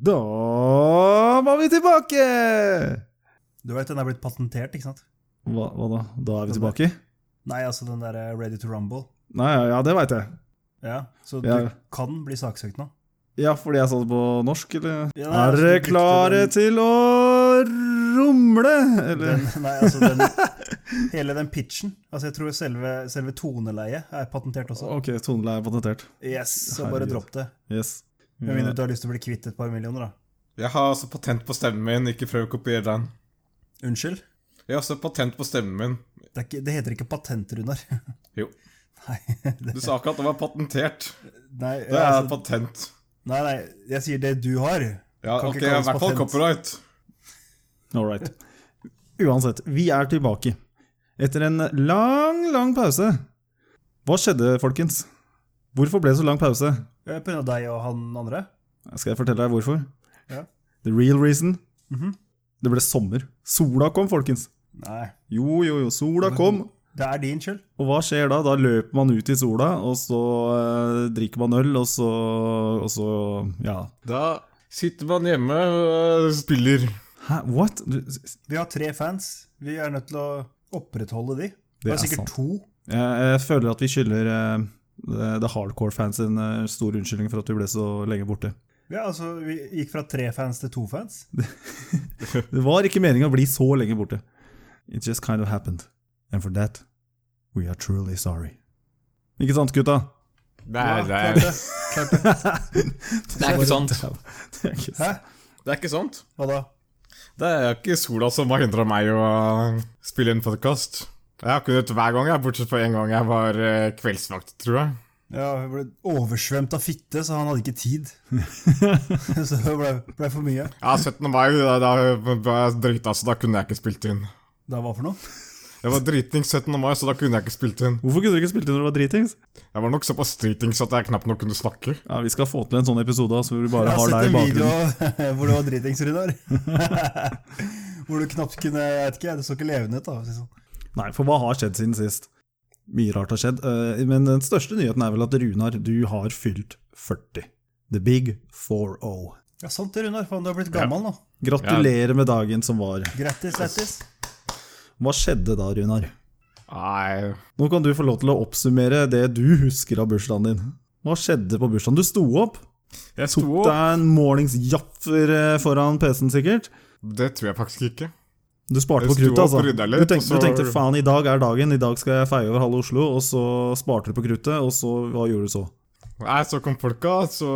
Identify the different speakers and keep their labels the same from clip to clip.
Speaker 1: Da var vi tilbake!
Speaker 2: Du vet den er blitt patentert, ikke sant?
Speaker 1: Hva, hva da? Da er vi tilbake?
Speaker 2: Nei, altså den der eh, Ready to Rumble.
Speaker 1: Nei, ja, ja, det veit jeg.
Speaker 2: Ja, Så
Speaker 1: Ja.
Speaker 2: du kan bli saksøkt nå.
Speaker 1: Ja, fordi jeg sa det på norsk, eller?
Speaker 2: Ja, nei,
Speaker 1: Er
Speaker 2: altså,
Speaker 1: dere
Speaker 2: du brukte
Speaker 1: klare
Speaker 2: den-
Speaker 1: til å rumle? Eller
Speaker 2: Den, nei, altså den, hele den pitchen. Altså Jeg tror selve, selve toneleiet er patentert også.
Speaker 1: Altså, Ok, toneleie er patentert.
Speaker 2: Yes, Så bare
Speaker 1: Herregud.
Speaker 2: dropp det.
Speaker 1: Yes.
Speaker 2: Med mindre du har lyst til å bli kvitt et par millioner, da.
Speaker 3: Jeg har også patent på stemmen min, ikke prøv å kopiere den.
Speaker 2: Unnskyld?
Speaker 3: Jeg har også patent på stemmen min.
Speaker 2: Det, er ikke, det heter ikke patent, Runar.
Speaker 3: Jo.
Speaker 2: Nei, det,
Speaker 3: Du sa ikke at det var patentert.
Speaker 2: nei,
Speaker 3: Det er
Speaker 2: altså,
Speaker 3: patent.
Speaker 2: nei, nei, jeg sier det du har.
Speaker 3: Ja,
Speaker 2: Kan ikke
Speaker 3: ok, i
Speaker 2: kalles
Speaker 3: hvert fall
Speaker 2: patent.
Speaker 3: copyright.
Speaker 1: Eh, All right. Uansett, vi er tilbake. Etter en lang, lang pause. Hva skjedde, folkens? Hvorfor ble det så lang pause?
Speaker 2: Eh, På grunn av deg og han andre.
Speaker 1: Skal jeg fortelle deg hvorfor?
Speaker 2: Ja.
Speaker 1: The real reason?
Speaker 2: Mhm.
Speaker 1: Det ble sommer. Sola kom, folkens.
Speaker 2: Nei,
Speaker 1: Jo, jo, jo, sola kom.
Speaker 2: det er din skyld.
Speaker 1: Og hva skjer da? Da løper man ut i sola, og så eh, drikker man øl, og så, og så Ja.
Speaker 3: Da sitter man hjemme og spiller.
Speaker 1: Hæ, what? Du,
Speaker 2: Vi har tre fans. Vi er nødt til å opprettholde de. Det,
Speaker 1: Det
Speaker 2: er
Speaker 1: er sant.
Speaker 2: sikkert to.
Speaker 1: Jeg, jeg føler at vi skylder eh, the the hardcore fans en eh, stor unnskyldning for at vi ble så lenge borte.
Speaker 2: Ja, altså, Vi gikk fra tre fans til to fans.
Speaker 1: Det var ikke meninga å bli så lenge borte. It just kind of happened. And for that, we are truly sorry. Ikke sant, gutta?
Speaker 3: Det
Speaker 2: Ja,
Speaker 3: er, det
Speaker 2: klart
Speaker 3: er,
Speaker 2: det. Klart det.
Speaker 3: det er ikke sånt.
Speaker 1: Det er ikke
Speaker 2: Hæ?
Speaker 1: sant.
Speaker 3: Det er ikke sånt.
Speaker 2: Hva da?
Speaker 3: Det er ikke sola som har hindra meg å uh, spille en podkast. Jeg har kunnet hver gang, jeg, bortsett fra en gang jeg var uh, kveldsvakt, tror jeg.
Speaker 2: Ja, Jeg ble oversvømt av fitte, så han hadde ikke tid. så det ble, ble for mye.
Speaker 3: Ja, 17. mai, da, da var jeg drita, så da kunne jeg ikke spilt inn.
Speaker 2: Det var for noe.
Speaker 3: Jeg var driting 17. mai, så da kunne jeg ikke spilt inn.
Speaker 1: Hvorfor kunne du ikke spilt inn når du var dritings?
Speaker 3: Jeg var nok såpass dritings at jeg knapt nok kunne snakke.
Speaker 1: Ja, Vi skal få til en sånn episode altså, hvor vi bare
Speaker 2: Jeg har
Speaker 1: har
Speaker 2: sett
Speaker 1: deg i
Speaker 2: en video
Speaker 1: bakgrunnen.
Speaker 2: hvor du var dritings, Runar. hvor du knapt kunne Jeg vet ikke, det så ikke levende ut. da. for å si det sånn.
Speaker 1: Nei, for hva har skjedd siden sist? Mye rart har skjedd. eh, Men den største nyheten er vel at Runar, du har fylt 40. The big 4-0.
Speaker 2: Ja, sant det, Runar. Faen, du har blitt gammel nå.
Speaker 1: Gratulerer med dagen som var.
Speaker 2: Grattis, lættis.
Speaker 1: Hva skjedde da, Runar?
Speaker 3: Nei
Speaker 1: Nå kan du få lov til å oppsummere det du husker av bursdagen din. Hva skjedde på bursdagen? Du sto opp,
Speaker 3: Jeg sto
Speaker 1: tok
Speaker 3: opp.
Speaker 1: deg en morningsjaffer eh, foran PC-en sikkert.
Speaker 3: Det tror jeg faktisk ikke.
Speaker 1: Du sparte
Speaker 3: Jeg
Speaker 1: på
Speaker 3: sto
Speaker 1: kruttet,
Speaker 3: opp,
Speaker 1: altså.
Speaker 3: rydda
Speaker 1: Du
Speaker 3: litt,
Speaker 1: tenkte, du
Speaker 3: og så-
Speaker 1: tenkte faen, i dag er dagen, i dag skal jeg feie over halve Oslo, og så sparte du på kruttet, og så hva gjorde du så?
Speaker 3: Nei, så kom folka, så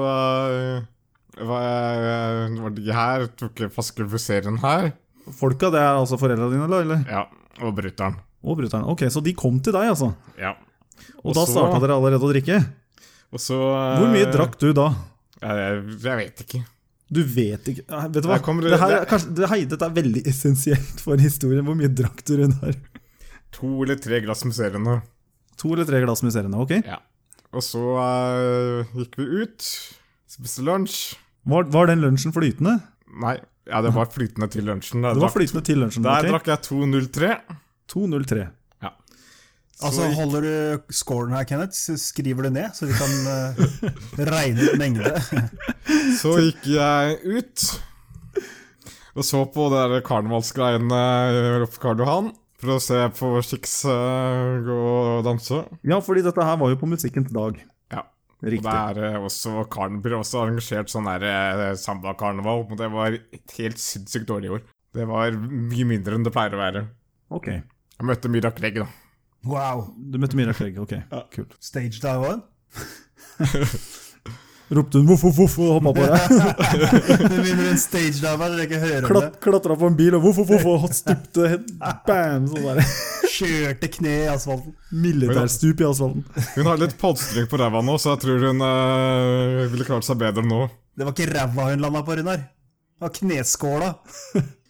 Speaker 3: eh, var, jeg, var de her, tok jeg flaskebusseren her.
Speaker 1: Folka, det er altså foreldra dine, eller? eller?
Speaker 3: Ja, og bryteren.
Speaker 1: Og brutter'n. Ok, så de kom til deg, altså.
Speaker 3: Ja.
Speaker 1: Og,
Speaker 3: Og
Speaker 1: da
Speaker 3: så- Eh,
Speaker 1: starta dere allerede å drikke.
Speaker 3: Og så eh,
Speaker 1: Hvor mye drakk du da?
Speaker 3: Jeg, jeg vet ikke.
Speaker 1: Du vet ikke Nei, Vet du hva?
Speaker 3: Jeg kommer-
Speaker 1: det her, er
Speaker 3: det-
Speaker 1: kanskje, det, hei, dette er veldig essensielt for historien. Hvor mye drakk du, Runar?
Speaker 3: To eller tre glass med seriene.
Speaker 1: To eller tre glass med seriene, ok?
Speaker 3: Ja. Og så eh, gikk vi ut, spiste lunsj.
Speaker 1: Var, var den lunsjen flytende?
Speaker 3: Nei, ja, det var flytende til lunsjen. Da
Speaker 1: Det var
Speaker 3: drakk-
Speaker 1: flytende til lunsjen.
Speaker 3: Der
Speaker 1: ok?
Speaker 3: drakk jeg 2,03.
Speaker 1: 2.03.
Speaker 3: Så
Speaker 2: Altså,
Speaker 3: gikk-
Speaker 2: Holder du scoren her, Kenneth, så skriver du ned, så vi kan eh, regne ut mengde.
Speaker 3: Så gikk jeg ut og så på det der karnevalsgreiene oppe på Karl Johan. For å se på Chicks eh, gå og danse.
Speaker 1: Ja, fordi dette her var jo på musikkens dag.
Speaker 3: Ja. Og
Speaker 1: Riktig.
Speaker 3: det er eh, også karn, blir også arrangert sånn der eh, samba-karneval. og Det var et helt sinnssykt dårlig i år. Det var mye mindre enn det pleier å være.
Speaker 1: Ok.
Speaker 3: Jeg møtte Mirak Legg, da.
Speaker 2: Wow.
Speaker 1: Du møtte Mira Klegg, ok. Kult.
Speaker 2: Stage dive on.
Speaker 1: Ropte hun voff, voff, voff og hoppa på deg.
Speaker 2: Med mindre en stage dive er, dere ikke hører om det.
Speaker 1: Klat, klatra på en bil og voff, voff, voff og stupte helt bam! Sånn der.
Speaker 2: Kjørte kne i asfalten.
Speaker 1: Militærstup i asfalten.
Speaker 3: Hun har litt polstring på ræva nå, så jeg tror hun eh, ville klart seg bedre nå.
Speaker 2: Det var ikke ræva hun landa på, Runar. Det var kneskåla.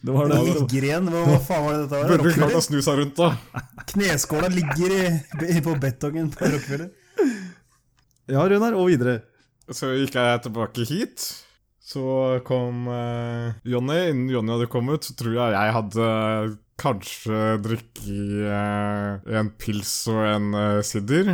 Speaker 1: Det var det.
Speaker 2: Den
Speaker 1: det var-
Speaker 2: ligger igjen. Hva, hva faen var det dette var?
Speaker 3: Burde hun klart å
Speaker 2: Rockefeller?
Speaker 3: snu seg rundt, da.
Speaker 2: Kneskåla ligger i, i, på betongen på Rockefeller.
Speaker 1: Ja, Runar, og videre.
Speaker 3: Så gikk jeg tilbake hit. Så kom eh, Jonny. Innen Jonny hadde kommet, så tror jeg jeg hadde kanskje drukket eh, en pils og en eh, sider.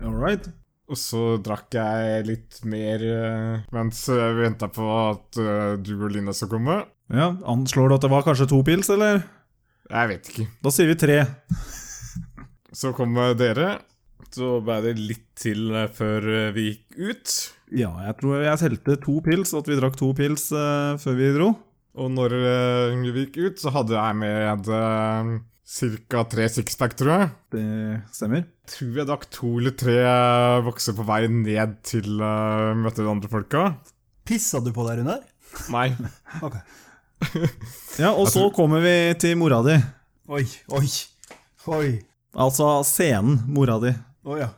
Speaker 1: All right.
Speaker 3: Og så drakk jeg litt mer eh, mens eh, vi venta på at eh, du og Linda skulle komme.
Speaker 1: Ja, Anslår du at det var kanskje to pils, eller?
Speaker 3: Jeg vet ikke.
Speaker 1: Da sier vi tre.
Speaker 3: Så kom eh, dere. Så ble det litt til eh, før eh, vi gikk ut.
Speaker 1: Ja, jeg tror jeg telte to pils, at vi drakk to pils eh, før vi dro.
Speaker 3: Og når eh, vi gikk ut, så hadde jeg med uh, ca. tre sixpack, tror jeg.
Speaker 1: Det stemmer.
Speaker 3: Tror jeg drakk to eller tre eh, bokser på vei ned til eh, møtte de andre folka.
Speaker 2: Pissa du på deg, Runar?
Speaker 3: Nei.
Speaker 2: Ok.
Speaker 1: Ja, og så kommer vi til mora di.
Speaker 2: Oi, oi, oi.
Speaker 1: Altså scenen, mora di.
Speaker 2: Å ja.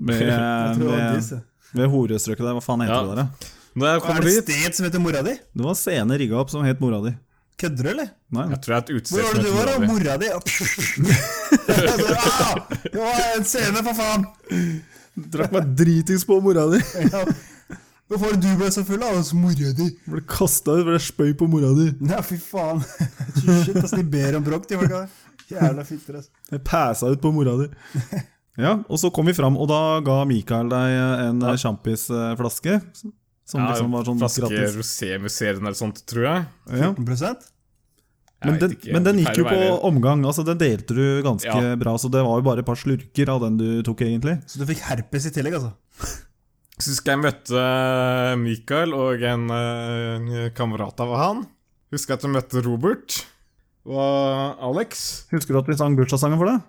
Speaker 1: Med,
Speaker 2: Jeg tror det var
Speaker 1: med,
Speaker 2: disse.
Speaker 1: med horestrøket der, hva faen heter
Speaker 3: Ja.
Speaker 1: det der? da?
Speaker 3: Når jeg
Speaker 2: Er
Speaker 3: kommer
Speaker 2: det
Speaker 3: dit
Speaker 2: et sted som heter mora di?
Speaker 1: Det var en scene rigga opp som het mora di.
Speaker 2: Kødder du, eller?
Speaker 1: Nei,
Speaker 3: Jeg tror det er et
Speaker 2: Hvor
Speaker 3: utested
Speaker 2: var det du var, da? Mora di? Ja, altså, ah, Det var en scene, for faen!
Speaker 1: Drakk meg dritings på mora di!
Speaker 2: Ja. Hvorfor du ble så full av hos mora di?
Speaker 1: Ble kasta ut fordi jeg spøy på mora di.
Speaker 2: Nei, fy faen. Shit, ass, de ber om bråk, de folka der. Jævla fitter, ass.
Speaker 1: Jeg pæsa ut på mora di. Ja, og så kom vi fram, og da ga Mikael deg en eh, sjampisflaske. Som liksom var sånn
Speaker 3: Flaske
Speaker 1: gratis.
Speaker 3: rosé-museum eller sånt, tror jeg.
Speaker 1: Ja.
Speaker 2: 14
Speaker 3: jeg
Speaker 1: Men
Speaker 3: vet
Speaker 1: den,
Speaker 3: ikke,
Speaker 1: men den
Speaker 3: det
Speaker 1: gikk jo på
Speaker 3: pleier å være-
Speaker 1: omgang, altså den delte du ganske
Speaker 3: Ja.
Speaker 1: bra, så det var jo bare et par slurker av den du tok, egentlig.
Speaker 2: Så du fikk herpes i tillegg, altså?
Speaker 3: Så husker jeg møtte eh, Mikael og en, eh, en kamerat av han. Husker jeg at jeg møtte Robert og Alex.
Speaker 1: Husker du at vi sang bursdagssangen for deg?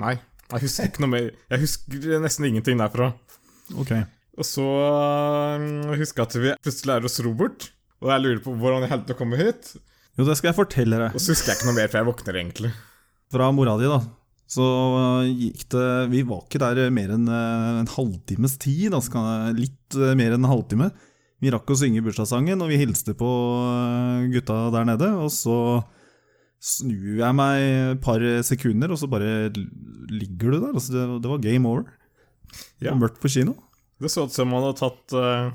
Speaker 3: Nei, jeg husker ikke noe mer. Jeg husker nesten ingenting derfra.
Speaker 1: Ok.
Speaker 3: Og så eh, husker jeg at vi plutselig er hos Robert, og jeg lurer på hvordan jeg heldt å komme hit.
Speaker 1: Jo, det skal jeg fortelle deg.
Speaker 3: Og så husker jeg ikke noe mer, for jeg våkner egentlig.
Speaker 1: Fra mora di, da. Så øh, gikk det Vi var ikke der mer enn øh, en halvtimes tid. Altså, kan jeg- litt øh, mer enn en halvtime. Vi rakk å synge bursdagssangen, og vi hilste på øh, gutta der nede. Og så snur jeg meg et par sekunder, og så bare ligger du der. Altså, det, det var game over. Det
Speaker 3: Ja.
Speaker 1: var mørkt på kino.
Speaker 3: Det så ut som han hadde tatt eh,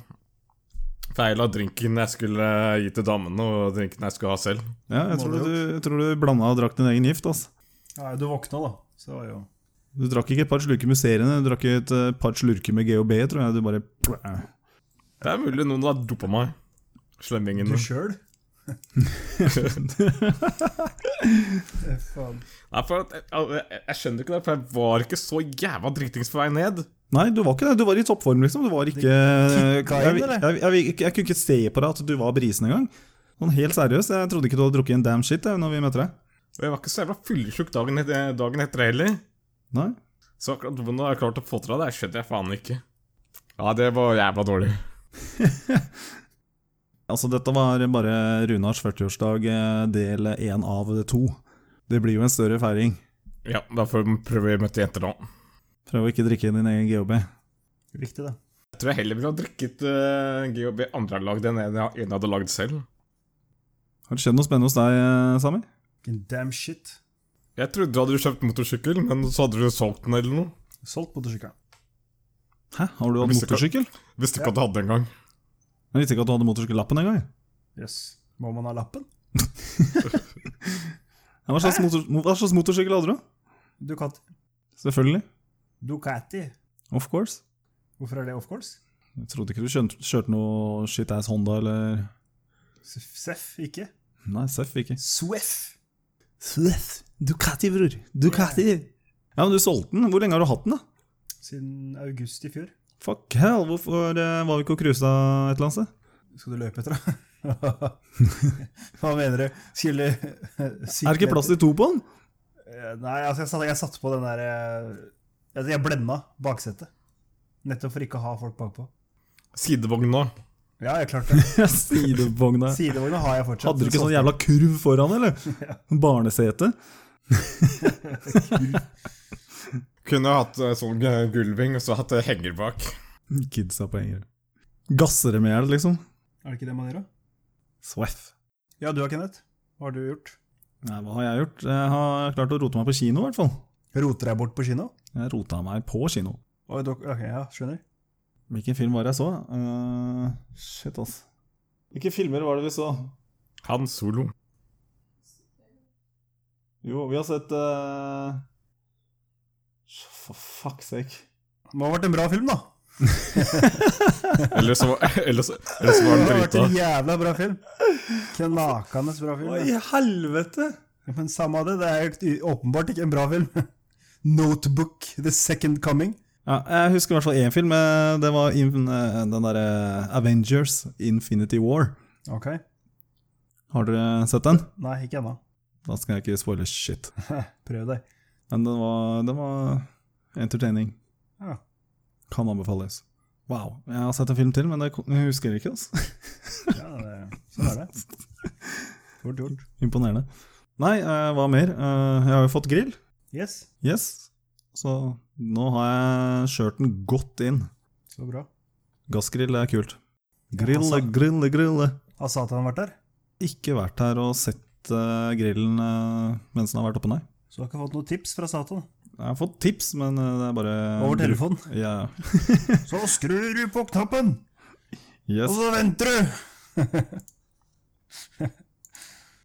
Speaker 3: feil av drinken jeg skulle uh, gi til damene, og drinken jeg skulle ha selv.
Speaker 1: Ja, jeg
Speaker 2: Må
Speaker 1: tror
Speaker 2: det
Speaker 1: du,
Speaker 2: jo.
Speaker 1: jeg tror du blanda og drakk din egen gift. Altså.
Speaker 2: Ja, du våkna, da. Så det var jo
Speaker 1: Du drakk ikke et par slurker med seriene, du drakk et øh, par slurker med GHB, tror jeg. Du bare
Speaker 3: Det er mulig noen har dopa meg. Slemmingen.
Speaker 2: Du
Speaker 3: Nei,
Speaker 2: sjøl? faen.
Speaker 3: for at, jeg, jeg, jeg skjønner ikke det, for jeg var ikke så jævla dritings på vei ned.
Speaker 1: Nei, du var ikke det. Du var i toppform, liksom. Du var ikke jeg,
Speaker 2: kicka
Speaker 1: jeg,
Speaker 2: inn, eller?
Speaker 1: jeg, jeg, jeg kunne ikke se på deg at du var brisen engang. Sånn helt seriøst, jeg trodde ikke du hadde drukket en damn shit jeg, når vi møtte deg.
Speaker 3: Og jeg var ikke så jævla fylleslukk dagen, et- eh, dagen etter heller.
Speaker 1: Nei.
Speaker 3: Så akkurat hvordan jeg har klart å få til det, det skjønner jeg faen ikke. Ja, det var jævla dårlig.
Speaker 1: Altså, dette var bare Runars 40-årsdag eh, del én av to. Det blir jo en større feiring.
Speaker 3: Ja, da får vi prøve å møte jenter nå.
Speaker 1: Prøv å ikke drikke din egen GHB.
Speaker 2: Viktig, det.
Speaker 3: Jeg tror jeg heller ville ha drikket eh, GHB andre hadde lagd enn en jeg en hadde lagd selv.
Speaker 1: Har det skjedd noe spennende hos deg, eh, Sami?
Speaker 2: Fucking damn shit.
Speaker 3: Jeg trodde du hadde kjøpt motorsykkel, men så hadde du solgt den eller noe.
Speaker 2: Solgt motorsykkelen.
Speaker 1: Hæ, har du hatt
Speaker 3: Visste ikke-
Speaker 1: motorsykkel?
Speaker 3: Visste ikke at du hadde en gang.
Speaker 1: Jeg visste ikke at du hadde motorsykkellappen engang.
Speaker 2: Yes. Må man ha lappen?
Speaker 1: Ja, Hva slags, motor, hva slags motorsykkel hadde du?
Speaker 2: Ducati.
Speaker 1: Selvfølgelig.
Speaker 2: Ducati.
Speaker 1: Of course.
Speaker 2: Hvorfor er det off course?
Speaker 1: Jeg trodde ikke du kjørte, kjørte noe shit ass Honda eller
Speaker 2: Seff, ikke?
Speaker 1: Nei, Seff ikke.
Speaker 2: Sweff.
Speaker 1: Swift. Ducati, bror. Ducati. Ja, men du solgte den. Hvor lenge har du hatt den, da?
Speaker 2: Siden august i fjor.
Speaker 1: Fuck hell, hvorfor eh, var vi ikke og cruisa et eller annet sted?
Speaker 2: Skal du løpe etter, da? Hva mener du? Skulle
Speaker 1: Er det ikke plass til to på den?
Speaker 2: Nei, altså, jeg satt, jeg satt på den der eh, altså, Jeg blenda baksetet. Nettopp for ikke å ha folk bakpå.
Speaker 3: Sidevogn nå.
Speaker 2: Ja, jeg klarte det.
Speaker 1: Sidevogna.
Speaker 2: Sidevogna har jeg fortsatt.
Speaker 1: Hadde du ikke sånn jævla kurv foran, eller? Barnesete.
Speaker 3: Kunne jeg hatt eh, sånn eh, gulving og så hatt eh, henger bak.
Speaker 1: Kidsa på henger. Gasser dem i hjel, liksom.
Speaker 2: Er det ikke det man gjør, da?
Speaker 1: Swaff.
Speaker 2: Ja, du da, Kenneth. Hva har du gjort?
Speaker 1: Nei, hva har jeg gjort? Jeg har klart å rote meg på kino, i hvert fall.
Speaker 2: Roter deg bort på kino?
Speaker 1: Jeg rota meg på kino.
Speaker 2: Oi, dok- ok, ja, skjønner.
Speaker 1: Hvilken film var det jeg så? Eh, shit, ass. Hvilke filmer var det vi så?
Speaker 3: Han solo.
Speaker 1: Jo, vi har sett eh, For fuck's sake.
Speaker 2: Det må ha vært en bra film, da.
Speaker 3: Eller så, eller så, eller
Speaker 2: Det
Speaker 3: så var han
Speaker 2: har vært
Speaker 3: drita.
Speaker 2: en jævla bra film. Knakende bra film.
Speaker 1: Hva
Speaker 2: ja.
Speaker 1: i helvete?
Speaker 2: Men samme av det, det er helt u- åpenbart ikke en bra film. Notebook, The Second Coming.
Speaker 1: Ja, jeg husker i hvert fall én film. eh, Det var in, eh, den derre Avengers Infinity War.
Speaker 2: Ok,
Speaker 1: Har dere sett den?
Speaker 2: Nei, ikke ennå.
Speaker 1: Da skal jeg ikke spoile shit.
Speaker 2: Prøv deg.
Speaker 1: Men den var, den var entertaining.
Speaker 2: Ja.
Speaker 1: Kan anbefales. Wow. Jeg har sett en film til, men det ko- jeg husker ikke. Altså.
Speaker 2: Ja, det, sånn er det. Fort gjort.
Speaker 1: Imponerende. Nei, eh, hva mer? Eh, jeg har jo fått grill.
Speaker 2: Yes,
Speaker 1: Yes. Så nå har jeg skjørten godt inn.
Speaker 2: så bra.
Speaker 1: Gassgrill er kult.
Speaker 2: Ja,
Speaker 1: Grille,
Speaker 2: altså.
Speaker 1: grille, grille.
Speaker 2: Har Satan vært der?
Speaker 1: Ikke vært her og sett eh, grillen eh, mens den har vært oppe, nei.
Speaker 2: Så har ikke fått noen tips fra Satan.
Speaker 1: Jeg har fått tips, men eh, det er bare
Speaker 2: Over telefon.
Speaker 1: Ja.
Speaker 2: Så skrur du på knappen, og
Speaker 1: Yes.
Speaker 2: så venter du!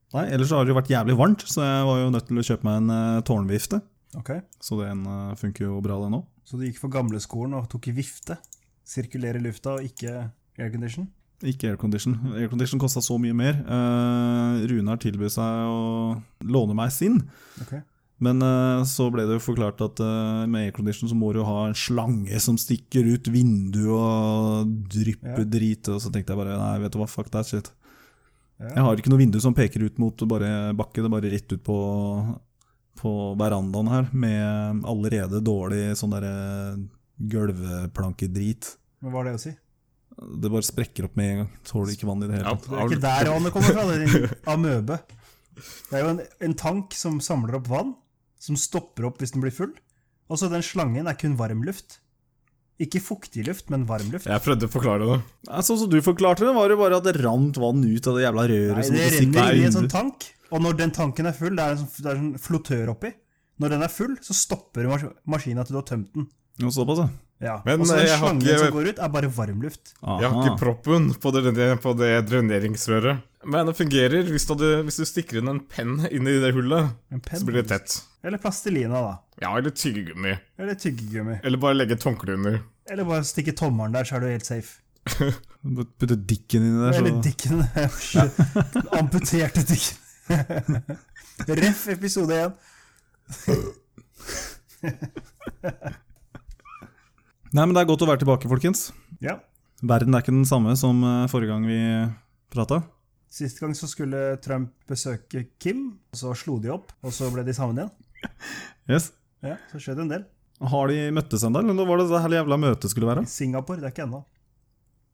Speaker 1: Nei, ellers har det jo vært jævlig varmt, så jeg var jo nødt til å kjøpe meg en eh, tårnvifte.
Speaker 2: Ok,
Speaker 1: Så den eh, funker jo bra, den òg.
Speaker 2: så du gikk for gamleskolen og tok i vifte. Sirkulere lufta og ikke aircondition.
Speaker 1: Ikke aircondition. Aircondition kosta så mye mer. Eh, Runar tilbød seg å låne meg sin,
Speaker 2: Ok.
Speaker 1: men eh, så ble det jo forklart at eh, med aircondition så må du jo ha en slange som stikker ut vinduet og drypper
Speaker 2: Ja.
Speaker 1: drit, og så tenkte jeg bare nei, vet du hva, fuck that shit.
Speaker 2: Ja.
Speaker 1: Jeg har ikke noe vindu som peker ut mot bare bakke, det er bare rett ut på, på verandaen her, med allerede dårlig sånn derre gulvplankedrit.
Speaker 2: Men hva har det å si?
Speaker 1: Det bare sprekker opp med en gang. Tåler ikke vann i det hele
Speaker 3: Ja,
Speaker 1: tatt.
Speaker 2: Det er ikke der vannet kommer fra, det er en amøbe. Det er jo en, en tank som samler opp vann, som stopper opp hvis den blir full. Og så den slangen er kun varm luft. Ikke fuktig luft, men varm luft.
Speaker 3: Jeg prøvde å forklare det.
Speaker 1: Nei, Sånn som du forklarte det, var det bare at det rant vann ut av det jævla røret.
Speaker 2: Nei,
Speaker 1: som
Speaker 2: det
Speaker 1: måtte stikke
Speaker 2: renner inn i en
Speaker 1: ut.
Speaker 2: sånn tank, og når den tanken er full, det er en, sånn, det er en sånn flottør oppi. Når den er full, så stopper mas maskinen at du har tømt den.
Speaker 1: Jo, såpass, ja.
Speaker 2: Ja.
Speaker 3: Men, eh,
Speaker 2: Og så den
Speaker 3: jeg har
Speaker 2: slangen
Speaker 3: ikke-
Speaker 2: som går ut, er bare varm luft.
Speaker 3: Jeg har
Speaker 1: Aha.
Speaker 3: ikke proppen på det, på det dreneringsrøret. Men det fungerer hvis du, hadde, hvis du stikker inn en penn inn i det hullet,
Speaker 2: En penn.
Speaker 3: så blir det tett.
Speaker 2: Eller plastelina, da.
Speaker 3: Ja, eller tyggegummi.
Speaker 2: Eller tyggegummi.
Speaker 3: Eller bare legge et håndkle under.
Speaker 2: Eller bare stikke tommelen der, så er du helt safe.
Speaker 1: Bare Putte dikken inni der,
Speaker 3: Altså-
Speaker 2: Eller
Speaker 1: så
Speaker 2: dikken. Den amputerte dikken. Ref episode én.
Speaker 1: Nei, men det er godt å være tilbake, folkens.
Speaker 2: Ja.
Speaker 1: Verden er ikke den samme som eh, forrige gang vi prata.
Speaker 2: Sist gang så skulle Trump besøke Kim, og så slo de opp, og så ble de sammen igjen.
Speaker 1: Yes.
Speaker 2: Ja, Så skjedde en del.
Speaker 1: Har de møttes ennå, eller var det det her jævla møtet skulle være?
Speaker 2: Singapore, det er ikke ennå.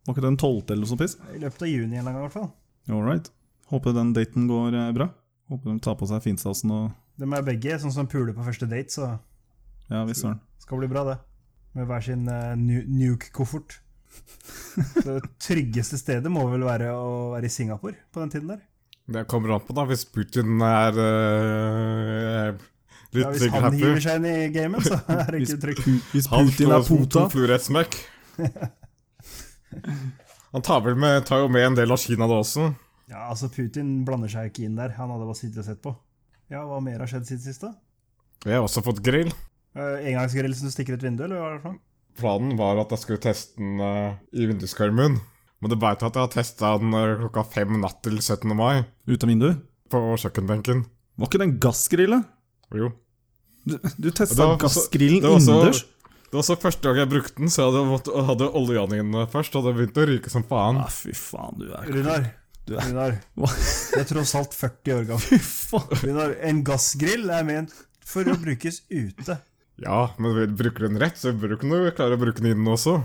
Speaker 1: Var ikke det den tolvte eller noe sånt piss?
Speaker 2: I løpet av juni en eller annen gang, i hvert fall.
Speaker 1: All right. Håper den daten går eh, bra. Håper de tar på seg finstasen og
Speaker 2: De er begge sånn som puler på første date, så
Speaker 1: Ja, visst søren.
Speaker 2: skal bli bra, det. Med hver sin eh, nu- nuke-koffert. Så Det tryggeste stedet må vel være å være i Singapore på den tiden der.
Speaker 3: Det kommer an på, da, hvis Putin er
Speaker 2: Ja,
Speaker 3: øh, litt
Speaker 2: hvis han
Speaker 3: happy.
Speaker 2: hiver seg inn i gamet, så er det
Speaker 1: Hvis
Speaker 2: ikke trygt.
Speaker 1: Pu- Hvis
Speaker 3: Han
Speaker 1: Putin er
Speaker 3: slår to-
Speaker 1: pota
Speaker 3: to fluer i ett smekk. Han tar, vel med, tar jo med en del av Kina da også.
Speaker 2: Ja, altså Putin blander seg ikke inn der. Han hadde bare sittet og sett på. Ja, Hva mer har skjedd siden sist, da?
Speaker 3: Jeg har også fått grill.
Speaker 2: Uh, engangsgrill som du stikker ut vinduet, eller hva er det for noe?
Speaker 3: Planen var at jeg skulle teste den eh, i vinduskarmen. Men du veit at jeg har testa den eh, klokka fem natt til 17. mai
Speaker 1: ut av vinduet.
Speaker 3: på kjøkkenbenken.
Speaker 1: Var ikke den gassgrilla?
Speaker 3: Jo.
Speaker 1: Du, du
Speaker 3: Det
Speaker 1: testa
Speaker 3: var også-
Speaker 1: gassgrillen
Speaker 3: det var også-
Speaker 1: innendørs?
Speaker 3: Det var også første gang jeg brukte den, så jeg hadde, mått- hadde olja inn først. Og det begynte å ryke som faen.
Speaker 1: Ja, Ah, fy faen, du er
Speaker 2: Runar,
Speaker 1: Du er-
Speaker 2: Runar.
Speaker 1: Hva?
Speaker 2: Du er tross alt 40 år gammel.
Speaker 1: Fy faen.
Speaker 2: Runar, en gassgrill er ment for å brukes ute.
Speaker 3: Ja, men vi bruker den rett, så vi bruker den, vi klarer å bruke den inne også.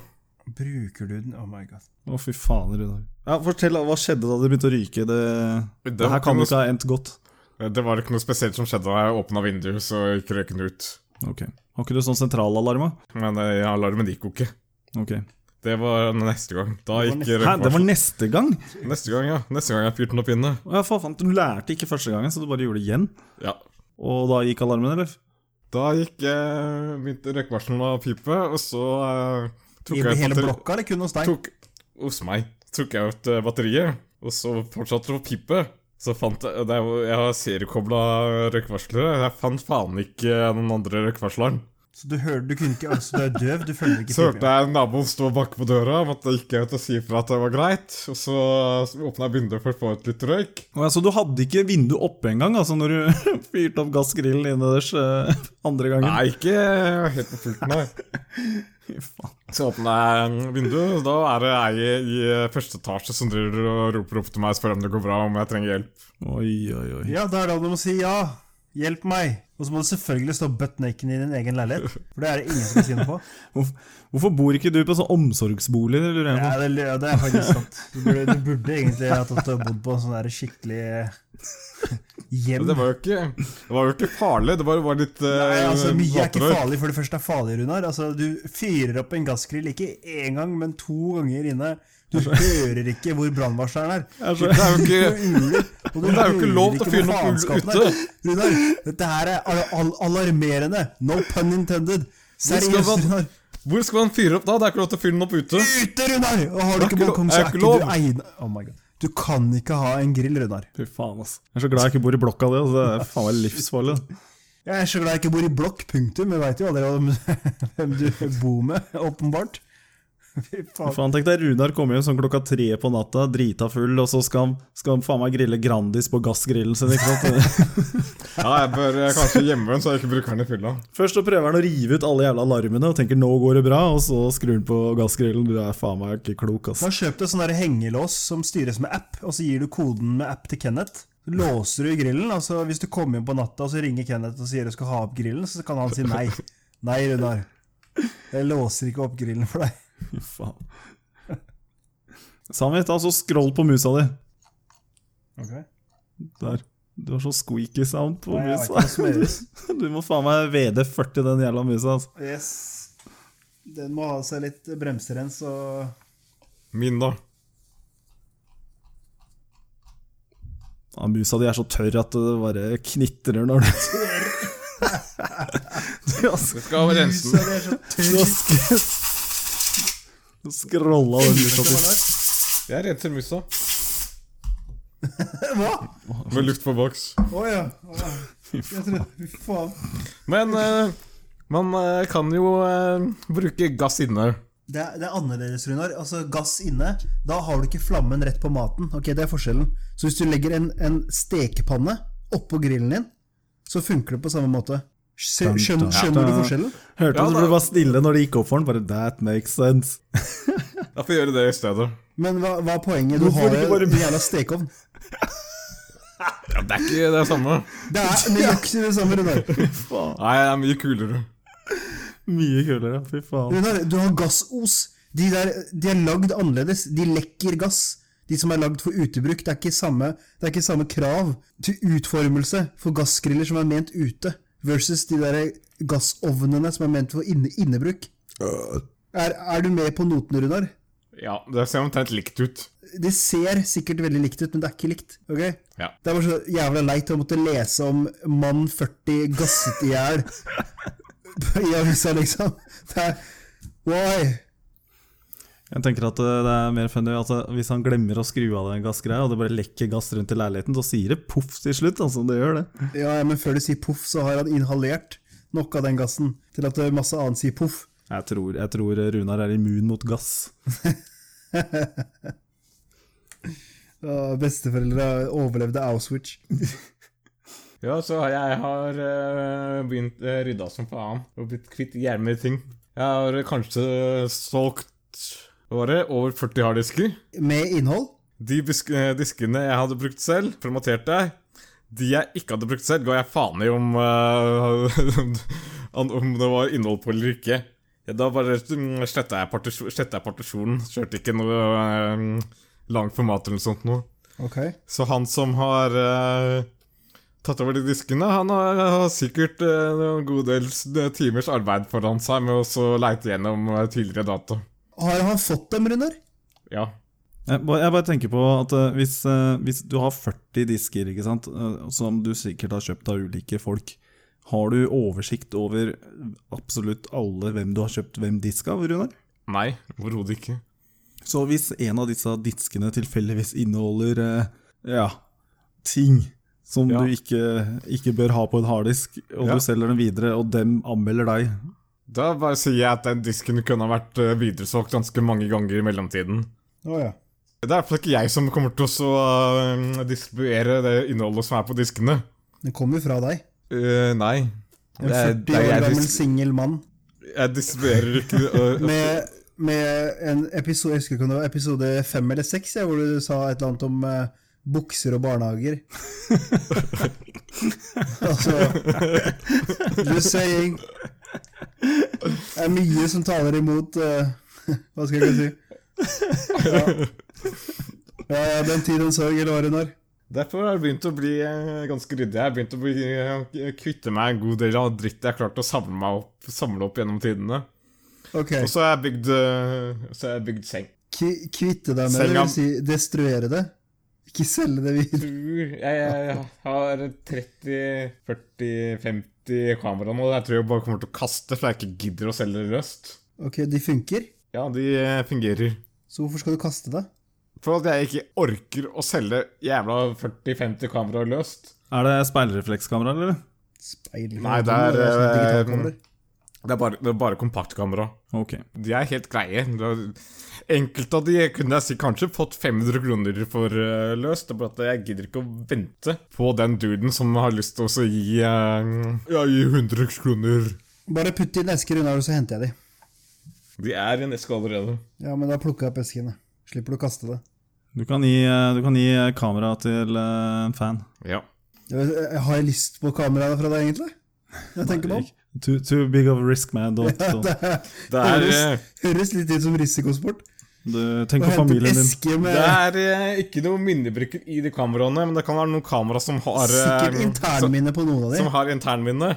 Speaker 2: Bruker du den? Oh my god.
Speaker 1: Å, fy faen, Runar. Ja, fortell, hva skjedde da det begynte å ryke? Det, det,
Speaker 3: Det
Speaker 1: her
Speaker 3: var
Speaker 1: kan jo
Speaker 3: ikke
Speaker 1: ikke ha endt godt.
Speaker 3: Eh, Det var ikke noe spesielt som skjedde da jeg åpna vinduet, så gikk røyken ut.
Speaker 1: Ok. Har ikke du sånn sentralalarma?
Speaker 3: Men eh, alarmen gikk jo ikke.
Speaker 1: Ok.
Speaker 3: Det var neste gang. Da
Speaker 2: Det var
Speaker 3: gikk
Speaker 2: neste-
Speaker 1: Hæ, det
Speaker 3: røykvarselet.
Speaker 1: var neste gang?
Speaker 3: Neste gang, ja. Neste gang jeg fyrte den opp inne.
Speaker 1: Å, Ja, faen, faen, du lærte ikke første gangen, så du bare gjorde det igjen?
Speaker 3: Ja.
Speaker 1: Og da gikk alarmen, eller?
Speaker 3: Da gikk eh, begynte røykvarslene å pipe, og så eh,
Speaker 2: I
Speaker 3: tok jeg ut
Speaker 2: hele
Speaker 3: batteri-
Speaker 2: blokka, eller kun hos deg?
Speaker 3: Tok, hos meg tok jeg ut eh, batteriet, og så fortsatte det å pipe. Så fant jeg det er, jo- Jeg har seriekobla røykvarslere. Jeg fant faen ikke den andre røykvarsleren.
Speaker 2: Så du hører, du kunne ikke, altså du er døv, du følger ikke
Speaker 3: Så hørte
Speaker 2: pipingen.
Speaker 3: jeg naboen stå og banke på døra om at jeg gikk ut og si ifra at det var greit. Og så åpna jeg vinduet for å få ut litt røyk.
Speaker 1: Å ja, så du hadde ikke vinduet oppe engang altså når du fyrte opp gassgrillen innendørs eh, andre gangen?
Speaker 3: Nei, ikke helt på fullt, nei.
Speaker 1: Fy faen.
Speaker 3: Så åpna jeg vinduet, og da er det ei i eh, første etasje som driver og roper opp til meg og spør om det går bra, om jeg trenger hjelp.
Speaker 1: Oi, oi, oi.
Speaker 2: Ja, da er det da du må si ja. Hjelp meg. Og så må du selvfølgelig stå butt naked i din egen leilighet. For det er det ingen som vil si noe på.
Speaker 1: Hvorfor bor ikke du på sånn omsorgsbolig? det lurer jeg på?
Speaker 2: Ja, det, ja, det er faktisk sant. Du burde, du burde egentlig ha tatt og bodd på en sånn der skikkelig
Speaker 3: Men
Speaker 2: hjem.
Speaker 3: Det var jo ikke, det var jo ikke farlig, det bare var litt eh,
Speaker 2: Nei, altså, mye er ikke
Speaker 3: gaterøyk.
Speaker 2: farlig, for det første er farlig, Runar. Altså, du fyrer opp en gassgrill ikke én gang, men to ganger inne. Du hører ikke hvor brannvarsleren er.
Speaker 1: Jeg er så-
Speaker 3: Det er jo ikke
Speaker 2: Du uler, og du
Speaker 3: Men det er jo ikke
Speaker 2: hører
Speaker 3: lov til å
Speaker 2: hvor
Speaker 3: fyre noe
Speaker 2: faenskapen
Speaker 3: ute.
Speaker 2: er. Runar, dette her er al al alarmerende. No pun intended.
Speaker 3: skal
Speaker 2: Seriøst,
Speaker 3: man-
Speaker 2: Runar.
Speaker 3: Hvor skal man fyre opp da? Det er ikke lov til å fyre den opp ute.
Speaker 2: Ute, Runar! Og har du
Speaker 3: Det
Speaker 2: ikke
Speaker 3: er ikke lov-
Speaker 2: balkong, så
Speaker 3: det er
Speaker 2: er
Speaker 3: ikke
Speaker 2: ikke du
Speaker 3: lov.
Speaker 2: egnet Oh my god. Du kan ikke ha en grill, Runar.
Speaker 1: Fy faen, ass. Jeg er så glad jeg ikke bor i blokka di. Altså. Det er faen meg livsfarlig.
Speaker 2: Jeg er så glad jeg ikke bor i blokk, punktum. Jeg veit jo aldri hvem- hvem du bor med, åpenbart. Fy
Speaker 1: Fy
Speaker 2: faen.
Speaker 1: Faen, Tenk deg Runar kommer hjem sånn klokka tre på natta, drita full, og så skal han, skal han faen meg grille Grandis på gassgrillen sin. ikke sant?
Speaker 3: Ja, jeg bør eh, kanskje gjemme den, så jeg ikke bruker den i fylla.
Speaker 1: Først så prøver han å rive ut alle jævla alarmene og tenker 'nå går det bra', og så skrur han på gassgrillen. Du er faen meg ikke klok, ass.
Speaker 2: Nå kjøp deg sånn der hengelås som styres med app, og så gir du koden med app til Kenneth. Så låser du i grillen, og så hvis du kommer hjem på natta og så ringer Kenneth og sier du skal ha opp grillen, så kan han si nei. Nei, Runar. Jeg låser ikke opp grillen for deg.
Speaker 1: Fy faen. Sami, ta så scroll på musa di. Der. Du har sånn squeaky sound på
Speaker 2: Nei, jeg vet ikke
Speaker 1: musa.
Speaker 2: hva som gjøres.
Speaker 1: Du må faen meg VD40 den jævla musa, altså.
Speaker 2: Yes. Den må ha seg litt bremserens og
Speaker 3: Min, da.
Speaker 1: Ja, musa di er så tørr at det bare knitrer når du Du altså. har sk-
Speaker 3: Jeg skal rense den.
Speaker 1: du har sk- Du scrolla den musa di.
Speaker 3: Jeg renser musa.
Speaker 2: Hva?
Speaker 3: Med luft på boks.
Speaker 2: Å ja. Jeg trodde Fy faen.
Speaker 3: Men eh, man eh, kan jo eh, bruke gass inne.
Speaker 2: Det er, det er annerledes, Runar. Altså, gass inne, da har du ikke flammen rett på maten. Ok, Det er forskjellen. Så hvis du legger en, en stekepanne oppå grillen din, så funker det på samme måte. Skjø- skjøn- skjønner du forskjellen?
Speaker 1: Hørte
Speaker 3: Ja,
Speaker 1: du
Speaker 3: da-
Speaker 1: at du var stille når det gikk opp for den? Bare that makes sense.
Speaker 3: Jeg får gjøre det i stedet.
Speaker 2: Men hva, hva er poenget? Du
Speaker 1: Hvorfor
Speaker 2: har
Speaker 1: ikke
Speaker 2: jo
Speaker 1: bare-
Speaker 2: en jævla stekeovn.
Speaker 3: Ja, det er ikke det samme.
Speaker 2: Det er nøyaktig det samme, Runar.
Speaker 1: Faen,
Speaker 3: Nei, det er mye kulere.
Speaker 1: mye kulere, fy faen.
Speaker 2: Runar, du har gassos. De der de er lagd annerledes. De lekker gass. De som er lagd for utebruk. Det er ikke samme, det er ikke samme krav til utformelse for gassgriller som er ment ute, versus de der gassovnene som er ment for inne, innebruk. Er, er du med på notene, Runar?
Speaker 3: Ja, det ser omtrent likt ut.
Speaker 2: Det ser sikkert veldig likt ut, men det er ikke likt. ok?
Speaker 3: Ja.
Speaker 2: Det er bare så jævla leit å måtte lese om mann 40 gasset i hjel i avisa, liksom. Det er Why?
Speaker 1: Jeg tenker at eh, det er mer funny at eh, hvis han glemmer å skru av den gassgreia, og det bare lekker gass rundt i leiligheten, så sier det poff til slutt, altså. Det gjør det.
Speaker 2: Ja, ja, men før du sier poff, så har han inhalert nok av den gassen til at det er masse annet sier poff.
Speaker 1: Jeg tror, jeg tror Runar er immun mot gass.
Speaker 2: Ja, Besteforeldre overlevde Auschwitz.
Speaker 3: Ja, så jeg har eh, begynt uh, rydda som faen og blitt kvitt jævlig mye ting. Jeg har kanskje solgt hva var det, over 40 harddisker.
Speaker 2: Med innhold?
Speaker 3: De bisk- eh, diskene jeg hadde brukt selv, formaterte jeg. De jeg ikke hadde brukt selv, ga jeg faen i om, eh, om- om det var innhold på eller ikke. Ja, Da bare sletta jeg, partis sletta jeg partisjonen. Kjørte ikke noe eh, langt format eller noe sånt noe.
Speaker 2: Ok.
Speaker 3: Så han som har eh, tatt over de diskene, han har, har sikkert eh, en god del s- eh, timers arbeid foran seg med å så leite gjennom eh, tidligere data.
Speaker 2: Har han fått dem, Runar?
Speaker 3: Ja.
Speaker 1: Jeg bare, jeg bare tenker på at eh, hvis, eh, hvis du har 40 disker, ikke sant, eh, som du sikkert har kjøpt av ulike folk, har du oversikt over absolutt alle hvem du har kjøpt hvem disk av, Runar?
Speaker 3: Nei, overhodet ikke.
Speaker 1: Så hvis en av disse diskene tilfeldigvis inneholder eh, ja, ting som
Speaker 3: Ja.
Speaker 1: du ikke, ikke bør ha på en harddisk, og
Speaker 3: Ja.
Speaker 1: du selger den videre, og dem anmelder deg
Speaker 3: Da bare sier jeg at den disken kunne ha vært eh, videresolgt ganske mange ganger i mellomtiden.
Speaker 2: Å ja.
Speaker 3: Det er i hvert fall ikke jeg som kommer til å så, eh, distribuere det innholdet som er på diskene.
Speaker 2: Den kommer fra deg.
Speaker 3: Eh, nei.
Speaker 2: En
Speaker 3: Det er-
Speaker 2: 40
Speaker 3: det er-
Speaker 2: år
Speaker 3: jeg,
Speaker 2: gammel
Speaker 3: dis
Speaker 2: singel mann
Speaker 3: jeg distribuerer ikke eh,
Speaker 2: med, med en episode Jeg husker ikke om det var episode fem eller seks, ja, hvor du sa et eller annet om eh, bukser og barnehager. altså Just saying. Det er mye som taler imot eh, Hva skal jeg si? Ja. ja, ja, den tid en sorg, eller hva det når.
Speaker 3: Derfor har jeg begynt å bli eh, ganske ryddig. Jeg har begynt å bli, eh, kvitte meg en god del av dritt jeg har klart å samle, meg opp, samle opp gjennom tidene.
Speaker 2: Ok,
Speaker 3: Og så har jeg bygd, eh, så har jeg bygd seng.
Speaker 2: Ki- kvitte deg med det,
Speaker 3: Senga-
Speaker 2: vil si destruere det. Ikke selge det videre.
Speaker 3: tror jeg, jeg har 30-40-50 kameraer nå. Jeg tror jeg bare kommer til å kaste, for jeg ikke gidder å selge røst.
Speaker 2: Ok, de funker.
Speaker 3: Ja, de eh, fungerer.
Speaker 2: Så hvorfor skal du kaste det?
Speaker 3: For at jeg ikke orker å selge jævla 40-50 kameraer løst.
Speaker 1: Er det speilreflekskamera, eller?
Speaker 2: Speil.
Speaker 3: Nei, det er,
Speaker 2: sånn
Speaker 3: eh,
Speaker 2: digitalkamera.
Speaker 3: Det er bare, det er bare kompaktkamera.
Speaker 1: Ok.
Speaker 3: De er helt greie. Det er- Enkelte av de kunne jeg si kanskje fått 500 kroner for eh, løst. Det er bare at jeg gidder ikke å vente på den duden som har lyst til å så gi, eh, ja, gi 100 kroner.
Speaker 2: Bare putt inn esker unna, og så henter jeg de.
Speaker 3: De er i en eske allerede.
Speaker 2: Ja, men da plukker jeg opp eskene. Slipper du å kaste det.
Speaker 1: Du kan gi, eh, du kan gi kamera til eh, en fan.
Speaker 3: Ja.
Speaker 2: Jeg vet- jeg- eh, Har jeg lyst på kameraet fra deg, egentlig? Jeg tenker meg om.
Speaker 1: Too, too big of a risk, man. Don't, don't.
Speaker 2: Det er-
Speaker 3: Det er, eh,
Speaker 2: høres, høres litt ut som risikosport.
Speaker 1: Du,
Speaker 2: Å
Speaker 1: tenk på
Speaker 2: hente en
Speaker 1: familien din.
Speaker 2: eske med
Speaker 3: det er eh, ikke noen minnebrikker i de kameraene, men det kan være noen kamera som har eh,
Speaker 2: sikkert internminne på noen av
Speaker 3: som,
Speaker 2: de.
Speaker 3: som har internminne.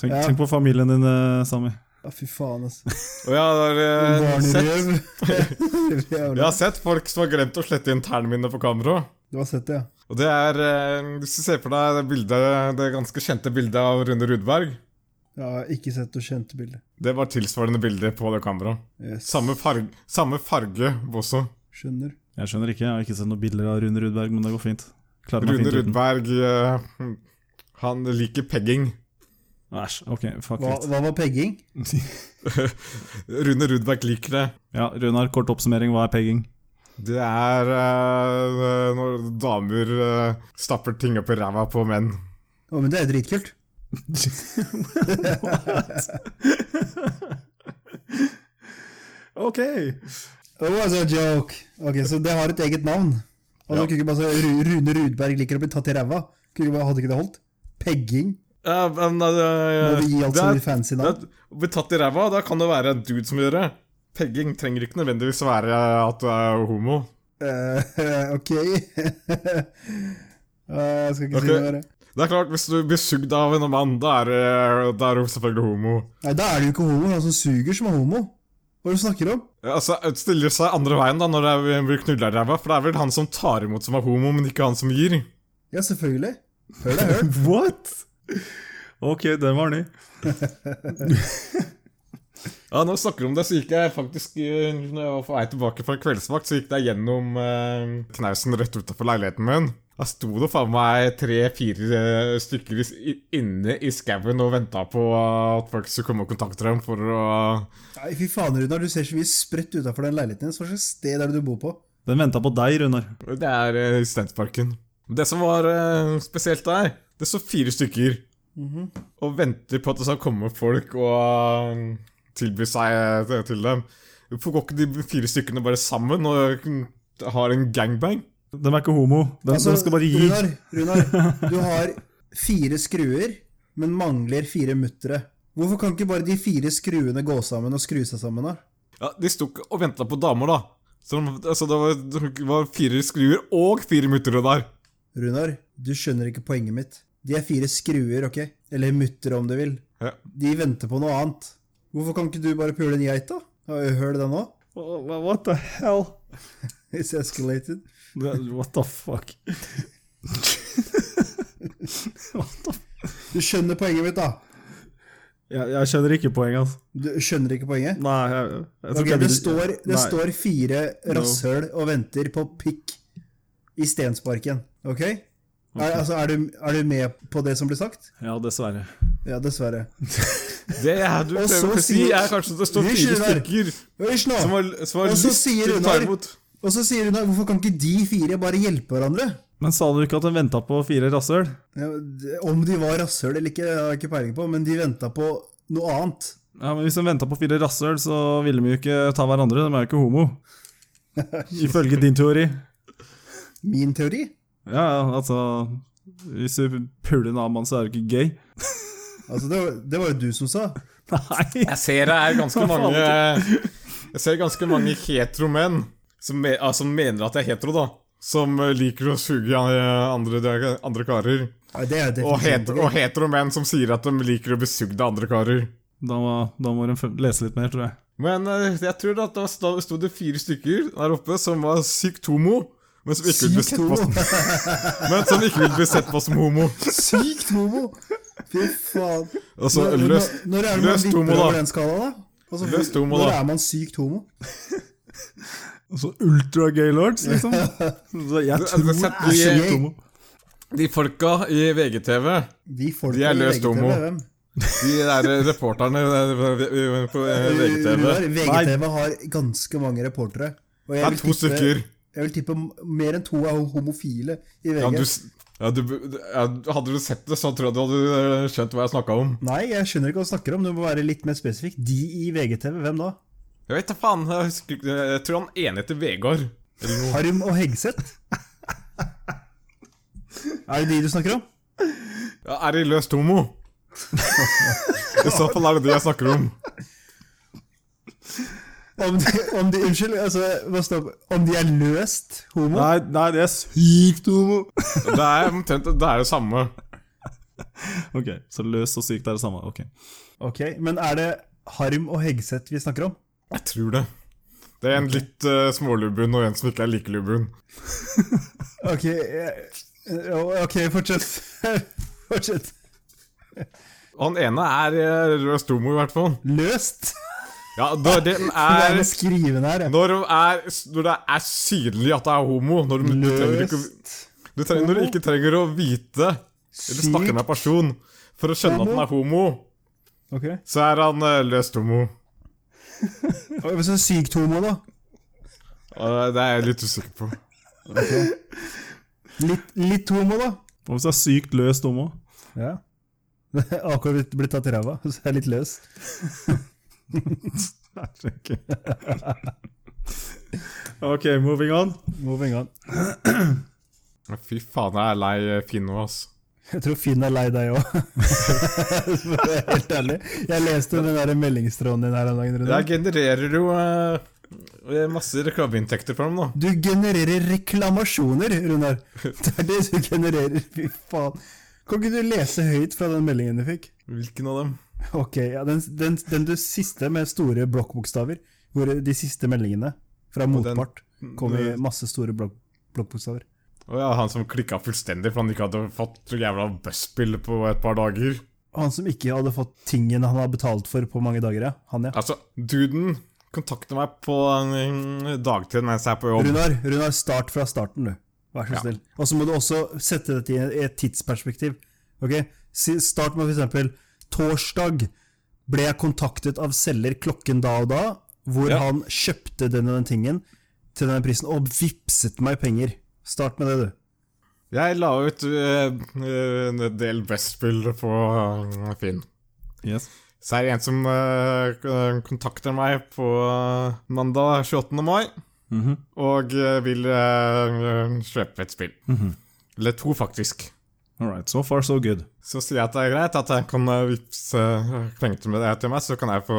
Speaker 1: Tenk,
Speaker 2: Ja.
Speaker 1: tenk på familien din, eh, Sami.
Speaker 2: Ja, fy faen, altså.
Speaker 3: Og jeg har, eh, sett,
Speaker 2: Barnerøv.
Speaker 3: jeg
Speaker 2: Jævla.
Speaker 3: har sett folk som har glemt å slette internminne på kamera.
Speaker 2: Du har sett det, ja.
Speaker 3: Og det er eh, Hvis du ser for deg det, bildet, det ganske kjente bildet av Rune Rudberg
Speaker 2: Jeg har ikke sett og kjent bildet.
Speaker 3: Det var tilsvarende bilde på det kameraet.
Speaker 2: Yes.
Speaker 3: Samme, farg, samme farge også.
Speaker 2: Skjønner.
Speaker 1: Jeg skjønner ikke, jeg har ikke sett noen bilder av Rune Rudberg, men det går fint. Klarer meg
Speaker 3: Rune
Speaker 1: fint uten.
Speaker 3: Rudberg eh, Han liker pegging.
Speaker 1: Æsj, ok, fuck
Speaker 2: Hva, hva var pegging?
Speaker 1: it.
Speaker 3: Rune Rudberg liker det.
Speaker 1: ja, Runar, kort oppsummering, hva er pegging?
Speaker 3: Det er eh, når damer eh, stapper ting opp i ræva på menn.
Speaker 2: Å, men det er jo dritkult.
Speaker 1: ok!
Speaker 2: It was a altså, joke. Ok, Så det har et eget navn. Altså, kunne ikke bare si Ru- Rune Rudberg liker å bli tatt i ræva. Kunne ikke bare, hadde ikke det holdt? Pegging.
Speaker 3: Ja, men
Speaker 2: Må
Speaker 3: eh,
Speaker 2: vi gi alt
Speaker 3: det
Speaker 2: som
Speaker 3: er-
Speaker 2: blir fancy
Speaker 3: det
Speaker 2: navn?
Speaker 3: er- å Bli tatt i ræva, da kan det være en dude som gjør det. Pegging trenger ikke nødvendigvis være at du er homo.
Speaker 2: Eh, ok. Eh, jeg skal ikke
Speaker 3: Ok.
Speaker 2: si noe mer.
Speaker 3: Det er klart, Hvis du blir sugd av en mann, da er, det- da er du selvfølgelig homo.
Speaker 2: Nei, da er det jo ikke homo. Det er han som suger, som er homo. Hva er det du snakker om?
Speaker 3: Altså, det Stiller seg andre veien da, når det er- blir knulla i ræva, for det er vel han som tar imot som er homo, men ikke han som gir.
Speaker 2: Ja, selvfølgelig. Hør deg, hør.
Speaker 1: What?! Ok, den var ny.
Speaker 3: Ja, når jeg snakker om det, så gikk jeg faktisk eh, Når jeg var på vei tilbake fra kveldsvakt, så gikk jeg gjennom eh, knausen rett utafor leiligheten min. Da sto det faen meg tre-fire eh, stykker i- i- inne i skauen og venta på eh, at folk skulle komme og kontakte dem for å
Speaker 2: Nei, fy faen, Runar. Du ser så mye spredt utafor den leiligheten din. Hva slags sted er det du bor på?
Speaker 1: Den venta på deg, Runar.
Speaker 3: Det er eh, i Studentparken. Det som var eh, spesielt der, det sto fire stykker
Speaker 2: Mhm.
Speaker 3: og venter på at det skal komme folk og eh, tilby seg eh, til dem. Hvorfor går ikke de fire stykkene bare sammen og eh, har en gangbang?
Speaker 1: Den er ikke homo. Den,
Speaker 2: Altså,
Speaker 1: den skal bare gi.
Speaker 2: Runar, Runar, du har fire skruer, men mangler fire muttere. Hvorfor kan ikke bare de fire skruene gå sammen og skru seg sammen? da?
Speaker 3: Ja, De sto ikke og venta på damer, da. Så de- altså, det, var, det var fire skruer og fire muttere der.
Speaker 2: Runar, du skjønner ikke poenget mitt. De er fire skruer, ok? Eller muttere, om du vil.
Speaker 3: Ja.
Speaker 2: De venter på noe annet. Hvorfor kan ikke du bare pule en geit, da? Har du hørt det nå?
Speaker 1: What the hell?
Speaker 2: It's escalated.
Speaker 1: What the fuck?
Speaker 2: Du skjønner poenget mitt, da!
Speaker 1: Jeg, jeg skjønner ikke poenget, altså.
Speaker 2: Du skjønner ikke poenget?
Speaker 1: Nei, jeg, jeg, tror
Speaker 2: Ok,
Speaker 1: ikke jeg
Speaker 2: det
Speaker 1: vil-
Speaker 2: står, det
Speaker 1: Nei.
Speaker 2: står fire
Speaker 1: No.
Speaker 2: rasshøl og venter på pikk i Stensparken, ok? Er, altså, er, du, er du med på det som blir sagt?
Speaker 1: Ja, dessverre.
Speaker 2: Ja, dessverre.
Speaker 3: Det er, du
Speaker 2: Og så
Speaker 3: prøver å si,
Speaker 2: sier-
Speaker 3: er kanskje det står
Speaker 2: Vi
Speaker 3: fire
Speaker 2: skylder.
Speaker 3: stykker
Speaker 2: Hysj nå!
Speaker 3: som har, som har
Speaker 2: Og så
Speaker 3: lyst
Speaker 2: sier
Speaker 3: til å ta
Speaker 2: Runar-
Speaker 3: imot.
Speaker 2: Og så sier hun da, hvorfor kan ikke de fire bare hjelpe hverandre?
Speaker 1: Men sa du ikke at den venta på fire rasshøl?
Speaker 2: Ja, d- Om de var rasshøl eller ikke, det har jeg ikke peiling på, men de venta på noe annet.
Speaker 1: Ja, men Hvis de venta på fire rasshøl, så ville de jo ikke ta hverandre. De er jo ikke homo. Ifølge din teori.
Speaker 2: Min teori?
Speaker 1: Ja, ja, altså Hvis du puler en annen mann, så er du ikke gay.
Speaker 2: Altså, det, var- det var jo du som sa.
Speaker 1: Nei!
Speaker 3: Jeg ser det er ganske mange Jeg ser ganske mange heteromenn som, me, ah, som mener at jeg er hetero, da. Som eh, liker å suge eh, andre, andre karer.
Speaker 2: Nei, det er jo
Speaker 3: Og, het,
Speaker 2: definitivt
Speaker 3: og heteromenn som sier at de liker å bli sugd av andre karer.
Speaker 1: Da må, da må de f- lese litt mer, tror jeg.
Speaker 3: Men eh, jeg tror at da sto sto det fire stykker der oppe som var sykt homo, men som ikke ville bli
Speaker 2: Sykt
Speaker 3: sett på,
Speaker 2: homo.
Speaker 3: men som ikke ville bli sett på som homo.
Speaker 2: Sykt homo! Fy faen.
Speaker 3: Altså,
Speaker 2: Når-
Speaker 3: løs,
Speaker 2: når- Når er det man
Speaker 3: løst
Speaker 2: vipper
Speaker 3: homo, da.
Speaker 2: over den skalaen, da? Altså,
Speaker 3: Løst homo,
Speaker 2: når
Speaker 3: da.
Speaker 2: er man sykt homo?
Speaker 1: Altså ultra-gaylords, liksom. Så jeg tror
Speaker 3: altså, sett-
Speaker 1: jeg er sykt homo.
Speaker 3: de folka i VGTV,
Speaker 2: De folka
Speaker 3: De er
Speaker 2: i
Speaker 3: løst
Speaker 2: VGTV,
Speaker 3: homo.
Speaker 2: hvem?
Speaker 3: de der eh, reporterne eh, på eh, VGTV
Speaker 2: Runar, VGTV har ganske mange reportere. Og jeg
Speaker 3: Det
Speaker 2: vil
Speaker 3: er to
Speaker 2: tippe-
Speaker 3: stykker.
Speaker 2: Jeg vil tippe mer enn to er homofile i VG.
Speaker 3: Ja, du, s- ja, du, ja, hadde du sett det, så tror jeg du hadde eh, skjønt hva jeg snakka om.
Speaker 2: Nei, jeg skjønner ikke hva du snakker om. Du må være litt mer spesifikk. De i VGTV, hvem da?
Speaker 3: Jeg vet da faen. Jeg, husker, ikke- jeg tror han ene heter Vegard. Eller noe.
Speaker 2: Harm og Hegseth? er det de du snakker om?
Speaker 3: Ja, er det løst homo? I så fall er det det jeg snakker om.
Speaker 2: Om de, om de Unnskyld, altså, hva står Om de er løst homo?
Speaker 1: Nei, nei, det er sykt homo!
Speaker 3: Det er omtrent det er det samme.
Speaker 1: Ok, Så løs og sykt er det samme. ok.
Speaker 2: Ok, men er det Harm og Hegseth vi snakker om?
Speaker 3: Jeg tror det. Det er en litt eh, smålubben og en som ikke er like lubben.
Speaker 2: Ok, jeg- eh, ok, fortsett. fortsett.
Speaker 3: Han ene er eh, løst homo, i hvert fall.
Speaker 2: Løst?
Speaker 3: Ja, da, den
Speaker 2: Hva er
Speaker 3: er
Speaker 2: det jeg skriver her? jeg?
Speaker 3: når, de er når det er synlig at det er homo Når de, du, trenger ikke,
Speaker 2: Løst
Speaker 3: du, trenger, når du ikke trenger å vite eller snakke med en person for å skjønne at han er homo,
Speaker 2: Ok.
Speaker 3: så er han eh, løst homo.
Speaker 2: Og Hvis det er sykt homo, da?
Speaker 3: Og det er jeg litt usikker på.
Speaker 2: Litt, litt homo, da?
Speaker 1: Hva hvis det er sykt løst homo?
Speaker 2: Ja. Akkurat blitt, blitt tatt i ræva, så jeg er litt løs.
Speaker 1: ok, moving on.
Speaker 2: Moving on.
Speaker 3: Men Fy faen, jeg er lei eh, Finn nå, ass.
Speaker 2: Jeg tror Finn er lei deg òg. Helt ærlig. Jeg leste den der meldingstråden din her en dag. Rune.
Speaker 3: Jeg genererer jo eh, masse reklameinntekter for dem, da.
Speaker 2: Du genererer reklamasjoner, Runar. Det er det du genererer. Fy faen. Kan ikke du lese høyt fra den meldingen du fikk?
Speaker 3: Hvilken av dem?
Speaker 2: Ok, ja, den, den, den du siste med store blokkbokstaver. Hvor de siste meldingene fra
Speaker 3: den-
Speaker 2: motpart kom i masse store blokk- blokkbokstaver.
Speaker 3: Å ja, han som klikka fullstendig for han ikke hadde fått så jævla buzzpill på et par dager.
Speaker 2: Han som ikke hadde fått tingen han har betalt for på mange dager, ja. Han, ja.
Speaker 3: Altså, duden kontakter meg på eh, dagtid mens jeg er på jobb.
Speaker 2: Runar, Runar, start fra starten, du. Vær så
Speaker 3: Ja.
Speaker 2: snill. Og så må du også sette dette i et tidsperspektiv. Ok? Si- Start med f.eks.: Torsdag ble jeg kontaktet av selger klokken da og da, hvor
Speaker 3: Ja.
Speaker 2: han kjøpte den og den tingen til den prisen, og vippset meg penger. Start med det, du.
Speaker 3: Jeg la ut eh, eh, en del buzzpill på eh, Finn.
Speaker 1: Yes.
Speaker 3: Så er det en som eh, k- kontakter meg på eh, mandag 28. mai,
Speaker 1: Mhm.
Speaker 3: og eh, vil eh, kjøpe et spill. Eller to, faktisk.
Speaker 1: All right, so far so good.
Speaker 3: Så sier jeg at det er greit at jeg kan eh, vippse eh, penger til meg- til meg, så kan jeg få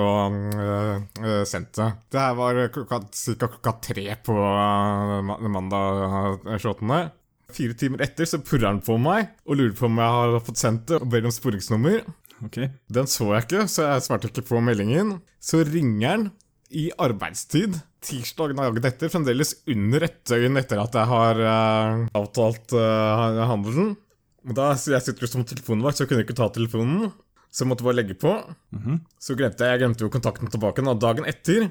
Speaker 3: eh, eh, sendt det. Det her var klokka, cirka klokka tre på eh, ma- mandag eh, 28. Fire timer etter så purrer han på meg og lurer på om jeg har fått sendt det, og ber om sporingsnummer.
Speaker 1: Ok.
Speaker 3: Den så jeg ikke, så jeg svarte ikke på meldingen. Så ringer han i arbeidstid tirsdag dagen etter, fremdeles under ett døgn etter at jeg har eh, avtalt eh, handelen. Og da så jeg sitter jo som telefonvakt, så jeg kunne ikke ta telefonen. Så jeg måtte bare legge på. Så glemte jeg, jeg glemte jo kontakten tilbake nå, dagen etter.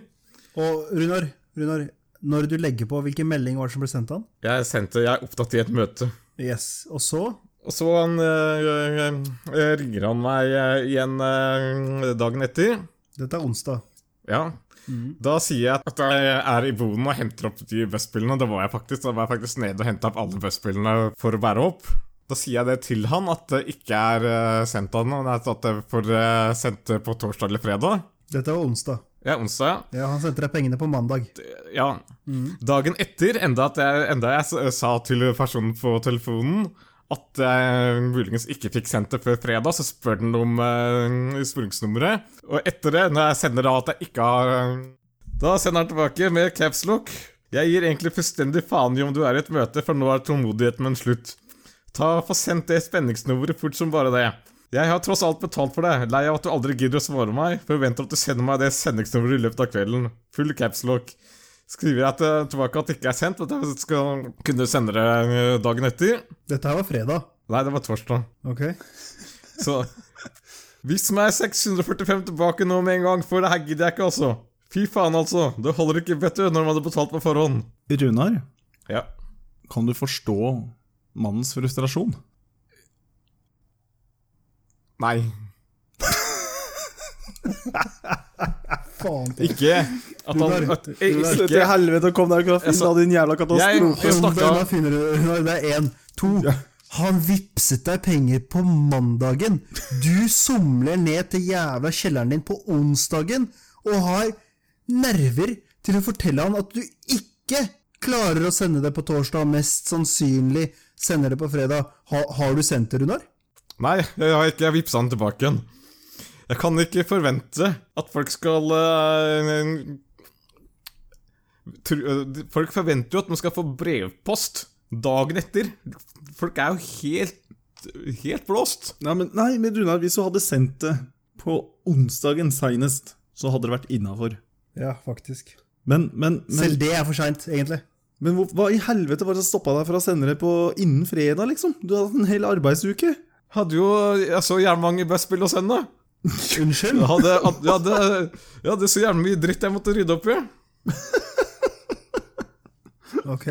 Speaker 2: Og Runar, Runar, når du legger på, hvilken melding var det som ble sendt han?
Speaker 3: Jeg sendte, jeg er opptatt i et møte.
Speaker 2: Yes. Og så?
Speaker 3: Og så han, eh, eh, ringer han meg eh, igjen eh, dagen etter.
Speaker 2: Dette er onsdag.
Speaker 3: Ja.
Speaker 2: Mhm.
Speaker 3: Da sier jeg at jeg er i boden og henter opp de busspillene. Det var jeg faktisk. Da var jeg faktisk nede og henta opp alle busspillene for å bære opp. Da sier jeg det til han, at det ikke er eh, sendt han, men at det får eh, sendt på torsdag eller fredag.
Speaker 2: Dette var onsdag.
Speaker 3: Ja, onsdag.
Speaker 2: Ja, han sendte deg pengene på mandag.
Speaker 3: Ja. Dagen etter, enda, at jeg, enda jeg s- sa til personen på telefonen at jeg muligens ikke fikk sendt det før fredag, så spør den om uh, sporingsnummeret. Og etter det, når jeg sender da at jeg ikke har eh, Da sender han tilbake med capslock. Jeg gir egentlig fullstendig faen i om du er i et møte, for nå er tålmodigheten min slutt. Ta Få sendt det spenningsnummeret fort som bare det. Jeg har tross alt betalt for det. Lei av at du aldri gidder å svare meg. Forventer at du sender meg det sendingsnummeret i løpet av kvelden. Full capslock. Skriver jeg til- tilbake at det ikke er sendt, at jeg skal kunne sende det eh, dagen etter.
Speaker 2: Dette her var fredag.
Speaker 3: Nei, det var torsdag.
Speaker 2: Ok.
Speaker 3: Så Vis meg 645 tilbake nå med en gang, for det her gidder jeg ikke, altså. Fy faen, altså. Det holder ikke, vet du, når man hadde betalt på forhånd.
Speaker 1: Runar,
Speaker 3: Ja.
Speaker 1: kan du forstå mannens frustrasjon?
Speaker 3: Nei.
Speaker 2: Faen.
Speaker 3: Ikke at han
Speaker 2: Runar,
Speaker 3: at, ikke,
Speaker 4: Slutt i helvete og kom deg ut fra
Speaker 3: Jeg sa-
Speaker 4: din jævla
Speaker 3: Jeg-
Speaker 4: katastrofe.
Speaker 3: jeg- snakka-
Speaker 2: Da finner du Nei, Det er én. To. Han vipset deg penger på mandagen. Du somler ned til jævla kjelleren din på onsdagen og har nerver til å fortelle han at du ikke klarer å sende det på torsdag, og mest sannsynlig sender det på fredag. Ha, har du sendt det, Runar?
Speaker 3: Nei, jeg har ikke jeg vippsa den tilbake igjen. Jeg kan ikke forvente at folk skal eh, tro- eh, Folk forventer jo at man skal få brevpost dagen etter. Folk er jo helt Helt blåst.
Speaker 1: Nei, men, nei, men Runar, hvis du hadde sendt det på onsdagen seinest, så hadde det vært innafor.
Speaker 2: Ja, faktisk.
Speaker 1: Men, men, men,
Speaker 2: Selv det er for seint, egentlig.
Speaker 1: men hvor, hva i helvete var det som stoppa deg fra å sende det på innen fredag, liksom? Du hadde hatt en hel arbeidsuke.
Speaker 3: Hadde jo jeg så jævlig mange busspill å sende.
Speaker 2: Unnskyld?
Speaker 3: Jeg hadde, jeg hadde, jeg hadde så jævlig mye dritt jeg måtte rydde opp i.
Speaker 2: Ok.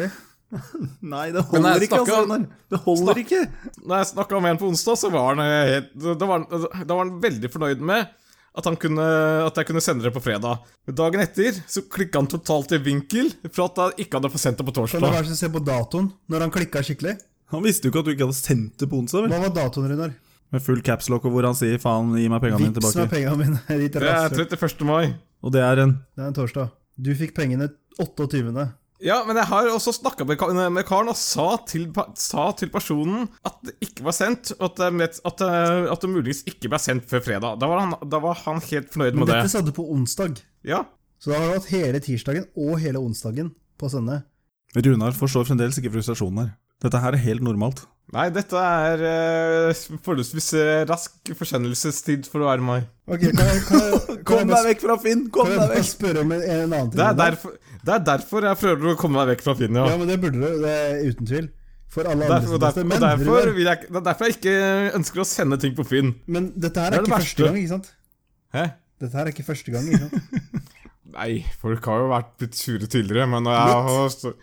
Speaker 1: Nei, det
Speaker 3: Men
Speaker 1: holder
Speaker 3: jeg
Speaker 1: ikke, altså,
Speaker 3: snakka-
Speaker 1: Runar. Det holder
Speaker 3: snak-
Speaker 1: ikke.
Speaker 3: Når jeg snakka med han på onsdag, så var han, eh, helt, da, var han, da var han veldig fornøyd med at, han kunne, at jeg kunne sende det på fredag. Men dagen etter så klikka han totalt i vinkel for at jeg ikke hadde fått sendt det på
Speaker 2: Kan du
Speaker 3: torsdag.
Speaker 2: være så snill å se på datoen når han klikka skikkelig?
Speaker 1: Han visste jo ikke at du ikke hadde sendt det på onsdag, vel?
Speaker 2: Hva var datoen, Runar?
Speaker 1: Med full capslock og hvor han sier 'faen, gi meg pengene mine
Speaker 2: Vips meg
Speaker 1: tilbake'.
Speaker 2: pengene mine. Ditt
Speaker 3: Det er
Speaker 2: rasshøl.
Speaker 3: 31. mai.
Speaker 1: Og det er en
Speaker 2: Det er en torsdag. Du fikk pengene 28.
Speaker 3: Ja, men jeg har også snakka med, ka- med karen og sa til, pa- sa til personen at det ikke var sendt, og at, det met- at, det- at det muligens ikke ble sendt før fredag. Da var han, da var han helt fornøyd
Speaker 2: Men
Speaker 3: med det.
Speaker 2: dette sa du på onsdag,
Speaker 3: Ja.
Speaker 2: så da har du hatt hele tirsdagen og hele onsdagen på å sende.
Speaker 1: Runar forstår fremdeles ikke frustrasjonen her. Dette her er helt normalt.
Speaker 3: Nei, dette er eh, forholdsvis eh, rask forsendelsestid for å være meg.
Speaker 2: Ok, kan jeg, kan jeg, kan jeg, bare,
Speaker 1: vekk fra Finn!
Speaker 2: kan jeg bare spørre om en, en annen ting?
Speaker 3: Det er,
Speaker 2: Runar?
Speaker 3: derfor, det er derfor jeg prøver å komme meg vekk fra Finn,
Speaker 2: Ja,
Speaker 3: ja.
Speaker 2: men det burde du, det er uten tvil. For alle andre
Speaker 3: Derfor,
Speaker 2: som
Speaker 3: og derfor,
Speaker 2: tester.
Speaker 3: og
Speaker 2: Men,
Speaker 3: derfor,
Speaker 2: Runar,
Speaker 3: vil jeg, ikke- det er derfor jeg ikke ønsker å sende ting på Finn.
Speaker 2: men dette her er,
Speaker 3: Det er det
Speaker 2: ikke
Speaker 3: verste.
Speaker 2: første gang, ikke sant?
Speaker 3: Hæ?
Speaker 2: Dette her er ikke første gang, ikke sant?
Speaker 3: Nei, folk har jo vært litt sure tidligere, men jeg har, så-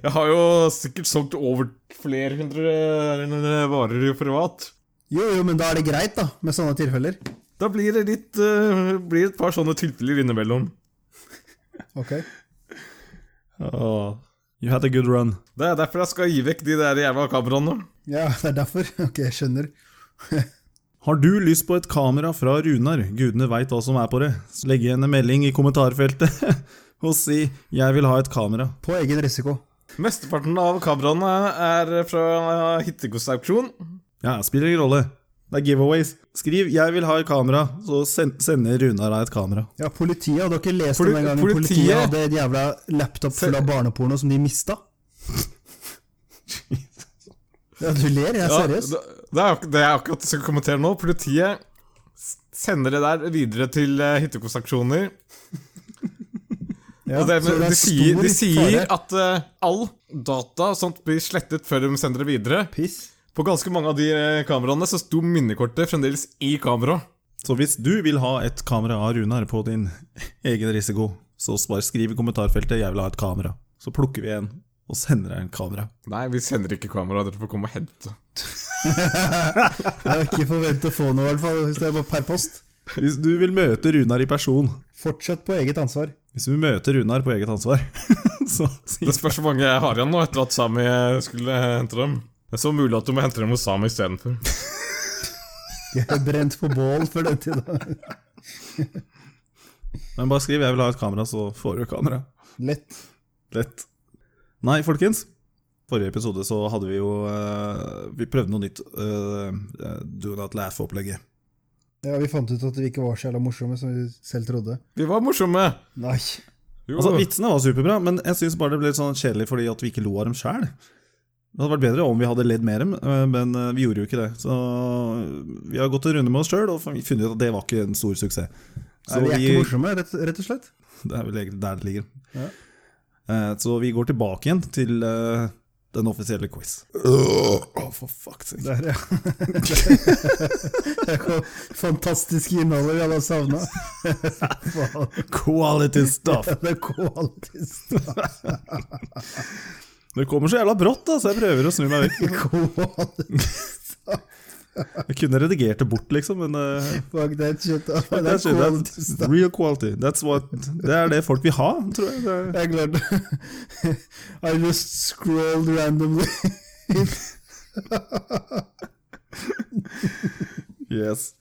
Speaker 3: jeg har jo sikkert solgt over flere hundre varer i privat.
Speaker 2: Jo, jo, men da er det greit, da, med sånne tilfeller.
Speaker 3: Da blir det litt, eh, blir et par sånne tilfeller innimellom.
Speaker 2: Ok.
Speaker 1: You had a good run.
Speaker 3: Det er derfor jeg skal gi vekk de der jævla kameraene.
Speaker 2: Ja, det er derfor. Ok, jeg skjønner.
Speaker 1: Har du lyst på et kamera fra Runar, gudene veit hva som er på det, så legg igjen en melding i kommentarfeltet og si 'jeg vil ha et kamera'.
Speaker 2: På egen risiko.
Speaker 3: Mesteparten av kameraene er fra Hittekostauksjon.
Speaker 1: Ja, spiller ingen rolle. Det er giveaways. Skriv 'jeg vil ha et kamera', så sen- sender Runar deg et kamera.
Speaker 2: Ja, politiet hadde dere lest
Speaker 3: Poli-
Speaker 2: om den gangen
Speaker 3: politiet-
Speaker 2: politiet, hadde en jævla laptop full av barneporno som de mista? Ja, du ler, jeg er
Speaker 3: Ja,
Speaker 2: seriøs.
Speaker 3: Det, det er ak- det er akkurat det jeg skal kommentere nå. Politiet s- sender det der videre til uh, hittekonstruksjoner.
Speaker 2: Ja,
Speaker 3: og det,
Speaker 2: så det er
Speaker 3: de, sier, de
Speaker 2: stor fare.
Speaker 3: sier at eh, all data og sånt blir slettet før de sender det videre.
Speaker 2: Piss.
Speaker 3: På ganske mange av de eh, kameraene så sto minnekortet fremdeles i kameraet.
Speaker 1: Så hvis du vil ha et kamera av Runar på din egen risiko, så bare skriv i kommentarfeltet 'jeg vil ha et kamera'. Så plukker vi en og sender deg en kamera.
Speaker 3: Nei, vi sender ikke kamera, dere får komme og hente.
Speaker 2: Jeg har ikke forventet å få noe, i hvert fall, hvis det er bare per post.
Speaker 1: Hvis du vil møte Runar i person
Speaker 2: Fortsett på eget ansvar.
Speaker 1: Hvis du vil møte Runar på eget ansvar, så si
Speaker 3: Det spørs hvor mange jeg har igjen nå etter at Sami eh, skulle hente dem. Det er så mulig at du må hente dem hos Sami istedenfor.
Speaker 2: Jeg er brent på bål før den tida.
Speaker 1: Men bare skriv 'jeg vil ha et kamera', så får du kamera.
Speaker 2: Lett.
Speaker 1: Lett. Nei, folkens. Forrige episode så hadde vi jo eh, Vi prøvde noe nytt. eh, do not laugh-opplegget.
Speaker 2: Ja, Vi fant ut at vi ikke var så jævla morsomme som vi selv trodde.
Speaker 3: Vi var morsomme!
Speaker 2: Nei.
Speaker 3: Jo.
Speaker 1: Altså, Vitsene var superbra, men jeg syns bare det ble litt sånn kjedelig fordi at vi ikke lo av dem sjæl. Det hadde vært bedre om vi hadde ledd mer, eh, men eh, vi gjorde jo ikke det. Så eh, vi har gått en runde med oss sjøl og funnet ut at det var ikke en stor suksess.
Speaker 2: Nei, vi er ikke morsomme, rett, rett og slett.
Speaker 1: Det er vel egentlig der det ligger.
Speaker 2: Ja.
Speaker 1: Eh, så vi går tilbake igjen til eh, den offisielle quiz. Åh, for fuck's sake.
Speaker 2: Der, ja. Det er jo fantastiske innholdet vi alle har savna.
Speaker 1: Quality stuff!
Speaker 2: Det er quality
Speaker 1: Det kommer så jævla brått, da, så jeg prøver å snu meg vekk.
Speaker 2: quality
Speaker 1: Jeg kunne redigert det bort, liksom, men eh,
Speaker 2: Fuck that shit. da.
Speaker 1: det,
Speaker 2: Det
Speaker 1: er
Speaker 2: er
Speaker 1: shit,
Speaker 2: quality
Speaker 1: that's
Speaker 2: stuff.
Speaker 1: real quality. That's what, det er det folk vil ha, tror jeg. Det er,
Speaker 2: Jeg klarte I just scrolled randomly.
Speaker 1: yes.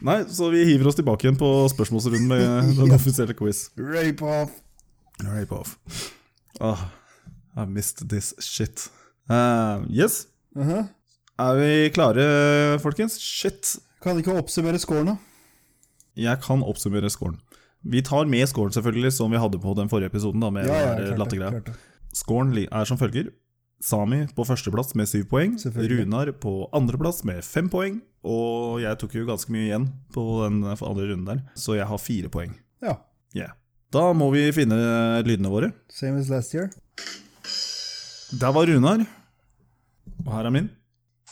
Speaker 1: Nei, så vi hiver oss tilbake igjen på spørsmålsrunden med den offisielle quiz.
Speaker 2: Rape off.
Speaker 1: Rape off. Ah, I missed this shit. Eh, yes.
Speaker 2: Aha.
Speaker 1: Er vi klare, folkens? Shit!
Speaker 2: Kan ikke oppsummere scoren, da?
Speaker 1: Jeg kan oppsummere scoren. Vi tar med scoren, selvfølgelig, som vi hadde på den forrige episoden. da, med ja,
Speaker 2: klart det,
Speaker 1: lattergreia.
Speaker 2: klart det.
Speaker 1: Scoren li- er som følger. Sami på førsteplass med syv poeng.
Speaker 2: Selvfølgelig.
Speaker 1: Runar på andreplass med fem poeng. Og jeg tok jo ganske mye igjen på den andre runden der, så jeg har fire poeng.
Speaker 2: Ja.
Speaker 1: Yeah. Da må vi finne lydene våre.
Speaker 2: Same as last year.
Speaker 1: Der var Runar. Og her er min.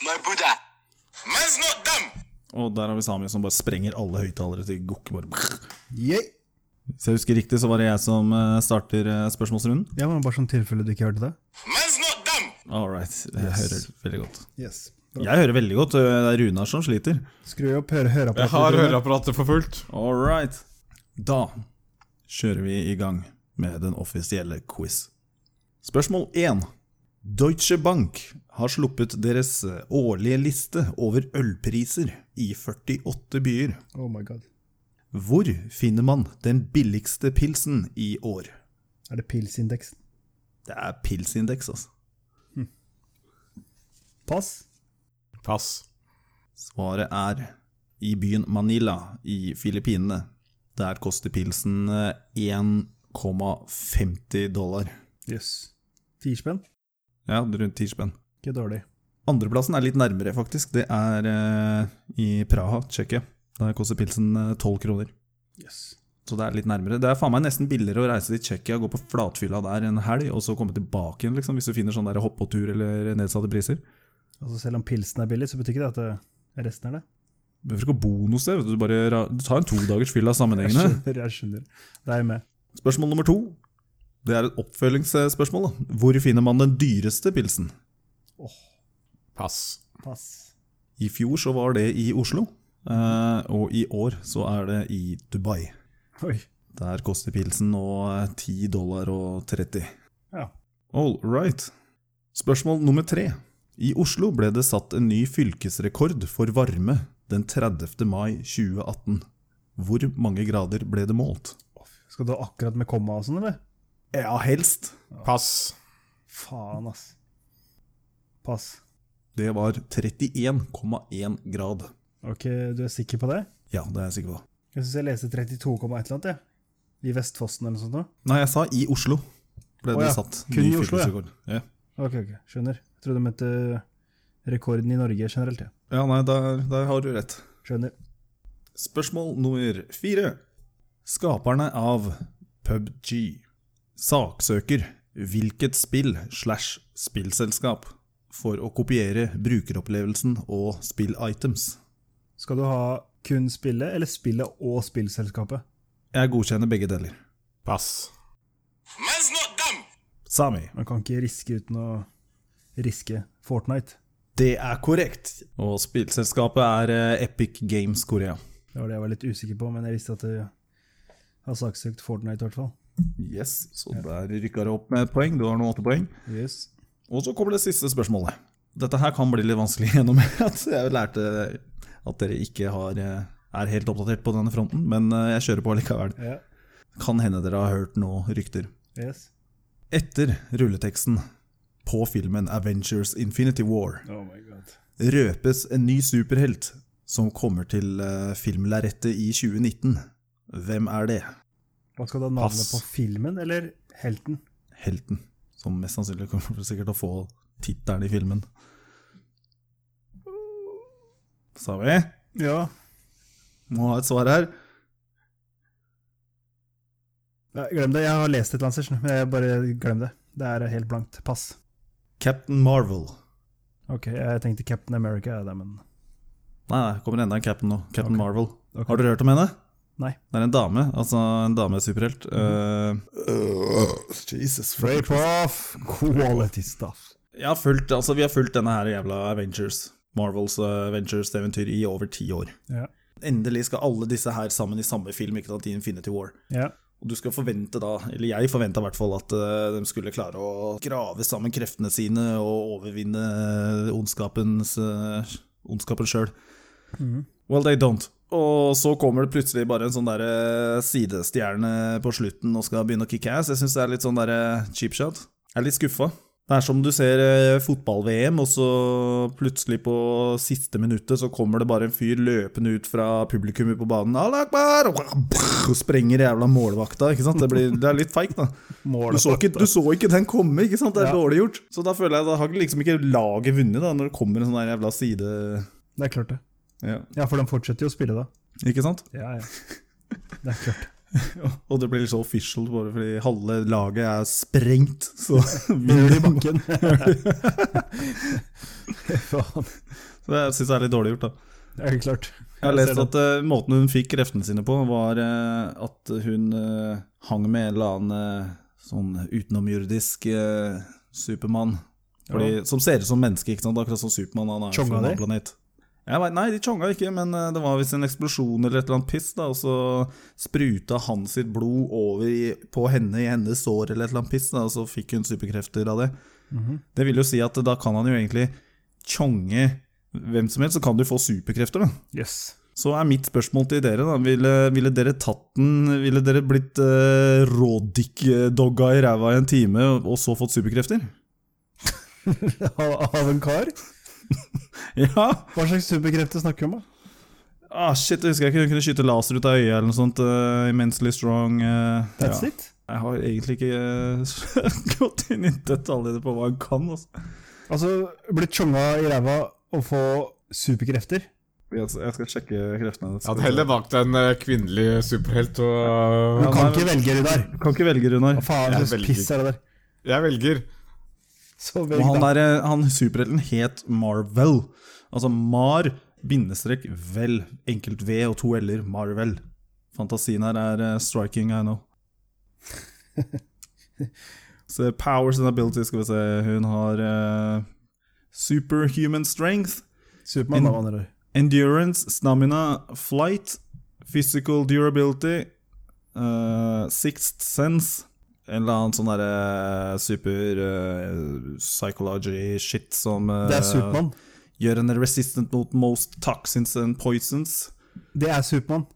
Speaker 4: My Buddha. Man's not dumb.
Speaker 1: Og der har vi Sami som bare sprenger alle høyttalere til gokke. bare-
Speaker 2: Yeah.
Speaker 1: Hvis jeg husker riktig, så var det jeg som eh, starter eh, spørsmålsrunden.
Speaker 2: Ja, men Bare sånn tilfelle du ikke hørte det.
Speaker 4: Man's not dumb.
Speaker 1: All right. Jeg hører veldig godt.
Speaker 2: Yes.
Speaker 1: Jeg hører veldig godt. Det er Runar som sliter.
Speaker 2: Skru opp høre, høreapparatet.
Speaker 3: Jeg har
Speaker 2: Rune.
Speaker 3: høreapparatet for fullt.
Speaker 1: All right. Da kjører vi i gang med den offisielle quiz. Spørsmål 1. Deutsche Bank har sluppet deres eh, årlige liste over ølpriser i 48 byer.
Speaker 2: Oh my god.
Speaker 1: Hvor finner man den billigste pilsen i år?
Speaker 2: Er det pilsindeksen?
Speaker 1: Det er pilsindeks, altså.
Speaker 2: Pass.
Speaker 3: Pass.
Speaker 1: Svaret er i byen Manila i Filippinene. Der koster pilsen eh, 1,50 dollar.
Speaker 2: Jøss. Ti spenn?
Speaker 1: Ja, rundt 10 spenn.
Speaker 2: Ikke dårlig.
Speaker 1: Andreplassen er litt nærmere, faktisk. Det er eh, i Praha, Tsjekkia. Der koster pilsen eh, tolv kroner.
Speaker 2: Jøss.
Speaker 1: Så det er litt nærmere. Det er faen meg nesten billigere å reise til Tsjekkia, gå på flatfylla der en helg, og så komme tilbake igjen, liksom, hvis du finner sånn der hoppetur eller nedsatte priser.
Speaker 2: Altså Selv om pilsen er billig, så betyr ikke det at det, resten er det.
Speaker 1: Du behøver ikke å bo noe sted, vet du. du bare ra- du tar en todagers fylla
Speaker 2: Jeg
Speaker 1: sammenhengende.
Speaker 2: skjønner. jeg skjønner. Det er jeg med.
Speaker 1: Spørsmål nummer to. Det er et oppfølgingsspørsmål. da. Hvor finner man den dyreste pilsen?
Speaker 3: Pass.
Speaker 2: Pass.
Speaker 1: I fjor så var det i Oslo, eh, og i år så er det i Dubai.
Speaker 2: Oi.
Speaker 1: Der koster pilsen nå eh, 10 dollar og 30.
Speaker 2: Ja.
Speaker 1: All right. Spørsmål nummer tre. I Oslo ble det satt en ny fylkesrekord for varme den 30. mai 2018. Hvor mange grader ble det målt?
Speaker 2: Skal du ha akkurat med komma og sånn, eller?
Speaker 1: Ja, helst.
Speaker 3: Pass.
Speaker 2: Faen, ass. Pass.
Speaker 1: Det var 31,1 grad.
Speaker 2: Ok, du er sikker på det?
Speaker 1: Ja, det er jeg sikker på.
Speaker 2: Jeg syns jeg leste 32,1 eller noe, jeg. I Vestfossen eller noe sånt. noe.
Speaker 1: Nei, jeg sa i Oslo ble
Speaker 2: Å
Speaker 1: det
Speaker 2: ja,
Speaker 1: satt.
Speaker 2: kun
Speaker 1: ny
Speaker 2: i Oslo, ja.
Speaker 1: fylkesrekord. ja.
Speaker 2: Ok, ok, skjønner. Jeg trodde de mente eh, rekorden i Norge generelt, jeg.
Speaker 1: Ja, nei, der, der har du rett.
Speaker 2: Skjønner.
Speaker 1: Spørsmål nummer fire. Skaperne av PubG saksøker hvilket spill slash spillselskap for å kopiere brukeropplevelsen og spillitems?
Speaker 2: Skal du ha kun spillet, eller spillet og spillselskapet?
Speaker 1: Jeg godkjenner begge deler.
Speaker 3: Pass.
Speaker 4: Man's not dumb.
Speaker 1: Sami.
Speaker 2: Man kan ikke riske uten å riske Fortnite.
Speaker 1: Det er korrekt. Og spillselskapet er eh, Epic Games Korea.
Speaker 2: Det var det jeg var litt usikker på, men jeg visste at du har saksøkt Fortnite i hvert fall.
Speaker 1: Yes, Så der rykka det opp med et poeng. Du har nå åtte poeng.
Speaker 2: Yes.
Speaker 1: Og så kommer det siste spørsmålet. Dette her kan bli litt vanskelig gjennom at jeg lærte at dere ikke har, eh, er helt oppdatert på denne fronten, men eh, jeg kjører på likevel.
Speaker 2: Ja.
Speaker 1: Kan hende dere har hørt noen rykter.
Speaker 2: Yes.
Speaker 1: Etter rulleteksten på filmen Avengers Infinity War
Speaker 2: Oh my god.
Speaker 1: røpes en ny superhelt som kommer til eh, filmlerretet i 2019. Hvem er det?
Speaker 2: Hva skal du ha navnet
Speaker 1: Pass.
Speaker 2: på filmen, eller helten?
Speaker 1: Helten. Som mest sannsynlig kommer til sikkert å få tittelen i filmen. Sa vi?
Speaker 2: Ja.
Speaker 1: Må ha et svar her.
Speaker 2: Glem det, jeg har lest et eller annet, Sersen, men jeg bare glem det. Det er helt blankt. Pass.
Speaker 1: Captain Marvel.
Speaker 2: Ok, jeg tenkte Captain America, ja, da, men
Speaker 1: Nei, nei, kommer enda en Captain nå. Captain Marvel.
Speaker 2: Ok.
Speaker 1: Har dere hørt om henne?
Speaker 2: Nei.
Speaker 1: Det er en dame. Altså en damesuperhelt. Mhm. Eh, Øh, Jesus
Speaker 2: Rape off quality stuff.
Speaker 1: Jeg har fulgt, altså, vi har fulgt denne her jævla Avengers. Marvels eh, Avengers-eventyr i over ti år.
Speaker 2: Ja.
Speaker 1: Endelig skal alle disse her sammen i samme film, ikke sant, i Infinity War.
Speaker 2: ja.
Speaker 1: Og du skal forvente da, eller jeg forventa i hvert fall, at eh, de skulle klare å grave sammen kreftene sine og overvinne eh, ondskapens eh, ondskapen sjøl. Well, they don't. Og så kommer det plutselig bare en sånn der eh, sidestjerne på slutten og skal begynne å kicke ass. Jeg syns det er litt sånn der eh, cheap shot. Jeg er litt skuffa. Det er som du ser eh, fotball-VM, og så plutselig på siste minuttet så kommer det bare en fyr løpende ut fra publikummet på banen. Allah Akbar! Og sprenger jævla målvakta, ikke sant? Det, blir, det er litt feigt, da. Du så, ikke, du så ikke den komme, ikke sant? Det er
Speaker 2: Ja.
Speaker 1: dårlig gjort. Så da føler jeg da har liksom ikke laget vunnet, da, når det kommer en sånn der jævla side...
Speaker 2: Det er klart, det.
Speaker 1: Ja.
Speaker 2: Ja, for de fortsetter jo å spille, da.
Speaker 1: Ikke sant?
Speaker 2: Ja, ja. Det er klart.
Speaker 1: Og det blir så official bare fordi halve laget er sprengt. Så,
Speaker 2: Begynner i bakken. Faen.
Speaker 1: så jeg syns det er litt dårlig gjort, da.
Speaker 2: Det er klart.
Speaker 1: Jeg har lest
Speaker 2: ser
Speaker 1: at eh, måten hun fikk kreftene sine på, var eh, at hun eh, hang med en eller annen eh, sånn utenomjordisk eh, Supermann. Fordi, Som ser ut som menneske, ikke sant? akkurat som Supermann. Han er jo
Speaker 2: Chonga
Speaker 1: fra en
Speaker 2: de?
Speaker 1: annen planet. Jeg vet, nei, de chonga ikke, men eh, det var visst en eksplosjon eller et eller annet piss, da, og så spruta han sitt blod over i, på henne i hennes sår eller et eller annet piss, da, og så fikk hun superkrefter av det.
Speaker 2: Mhm.
Speaker 1: Det vil jo si at da kan han jo egentlig tjonge hvem som helst, så kan du få superkrefter, da.
Speaker 2: Yes.
Speaker 1: Så er mitt spørsmål til dere, da. Ville, ville dere tatt den Ville dere blitt eh, rådikkdogga i ræva i en time, og så fått superkrefter?
Speaker 2: Av av en kar?
Speaker 1: Ja!
Speaker 2: Hva slags superkrefter snakker vi om, da?
Speaker 1: Ah, shit, jeg husker jeg ikke hun kunne skyte laser ut av øyet eller noe sånt. eh, immensely strong. eh,
Speaker 2: That's
Speaker 1: ja.
Speaker 2: it?
Speaker 1: Jeg har egentlig ikke eh, gått inn i detaljene på hva han kan. Altså.
Speaker 2: Altså, bli tjonga i ræva og få superkrefter?
Speaker 1: Jeg jeg skal sjekke kreftene.
Speaker 3: Jeg hadde heller valgt en eh, kvinnelig superhelt. Og
Speaker 2: Du
Speaker 1: Ja,
Speaker 2: kan
Speaker 1: nei,
Speaker 2: ikke velge det der!
Speaker 1: Kan ikke velge, Runar.
Speaker 2: Hva faen
Speaker 3: Jeg
Speaker 2: slags
Speaker 3: velger
Speaker 2: piss er det der?
Speaker 3: jeg velger.
Speaker 2: Så
Speaker 1: Og
Speaker 2: velg
Speaker 1: han,
Speaker 2: da.
Speaker 1: der, eh, han superhelten het Marvel. Altså Mar bindestrek vel. Enkelt V og to L-er. Marvel. Fantasien her er eh, striking, I know. Så powers and abilities, skal vi se. Hun har eh, superhuman strength,
Speaker 2: Supermann, da, med andre ord.
Speaker 1: endurance, stamina, flight, physical durability, eh, sixth sense En eller annen sånn derre super eh, psychology shit som eh,
Speaker 2: Det er Supermann.
Speaker 1: gjør en resistant mot most toxins and poisons.
Speaker 2: Det er Supermann.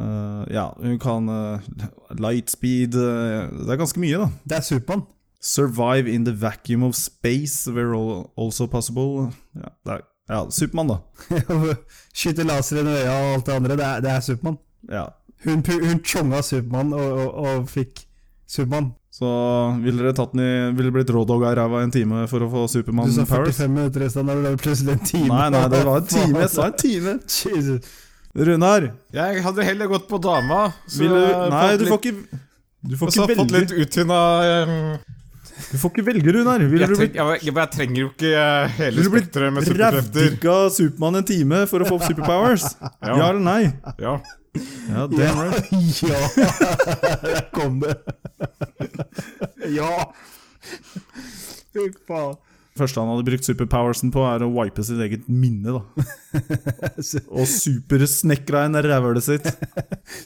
Speaker 1: Eh, ja, hun kan eh, light speed eh, Det er ganske mye, da.
Speaker 2: Det er Supermann.
Speaker 1: Survive in the vacuum of space where all, also possible. Ja, det er- ja Supermann, da.
Speaker 2: Skyte laser i øya og alt det andre. Det er, det er Supermann.
Speaker 1: Ja.
Speaker 2: Hun, pu- hun tjonga Supermann og, og, og fikk Supermann.
Speaker 1: Så ville dere tatt den i Ville blitt rådogga i ræva i en time for å få
Speaker 2: Du
Speaker 1: Supermann
Speaker 2: sa
Speaker 1: powers?
Speaker 2: 45 minutter i stad, da ble det plutselig en time.
Speaker 1: Nei, nei, det var en time. Jeg sa en time.
Speaker 2: Jesus.
Speaker 1: Runar,
Speaker 3: Jeg hadde heller gått på dama. Så
Speaker 1: vil du
Speaker 3: jeg
Speaker 1: Nei,
Speaker 3: fått
Speaker 1: du
Speaker 3: litt-
Speaker 1: får ikke Du får
Speaker 3: så
Speaker 1: ikke
Speaker 3: jeg fått
Speaker 1: velge,
Speaker 3: litt utynna eh,
Speaker 1: du får ikke velge Runar. Ville
Speaker 3: jeg,
Speaker 1: du
Speaker 3: treng,
Speaker 1: blitt
Speaker 3: ja, men- ja, men jeg trenger jo ikke eh, hele
Speaker 1: Ville du blitt
Speaker 3: spekteret med superkrefter.
Speaker 1: rævdykka Supermann en time for å få superpowers?
Speaker 3: Ja.
Speaker 1: Ja eller nei?
Speaker 3: Ja.
Speaker 1: Ja, damn right.
Speaker 2: Ja, der kom det. ja. Fy faen.
Speaker 1: første han hadde brukt superpowersen på, er å wipe sitt eget minne. da
Speaker 2: Altså,
Speaker 1: Og supersnekra inn rævhølet sitt.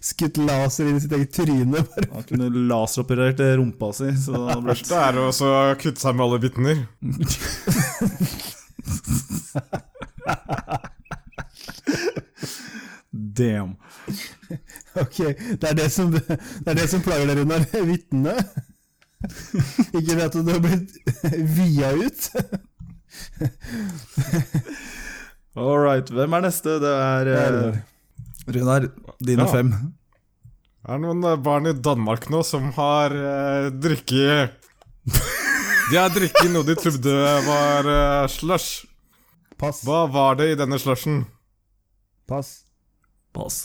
Speaker 2: Skutt laser inn i sitt eget tryne. Bare.
Speaker 1: Han kunne laseroperert rumpa si. Så det ble
Speaker 3: Verste er å også kutte seg med alle bitner.
Speaker 1: damn.
Speaker 2: Ok, det er det som, det er det som plager deg, Runar. Vitnene. Ikke det at du har blitt via ut.
Speaker 1: All right, hvem er neste? Det er eh, Runar. Dine
Speaker 3: Ja.
Speaker 1: fem.
Speaker 3: Det er noen eh, barn i Danmark nå som har eh, drikket De har drikket noe de trodde var eh, slush.
Speaker 2: Pass.
Speaker 3: Hva var det i denne slushen?
Speaker 2: Pass.
Speaker 1: Pass.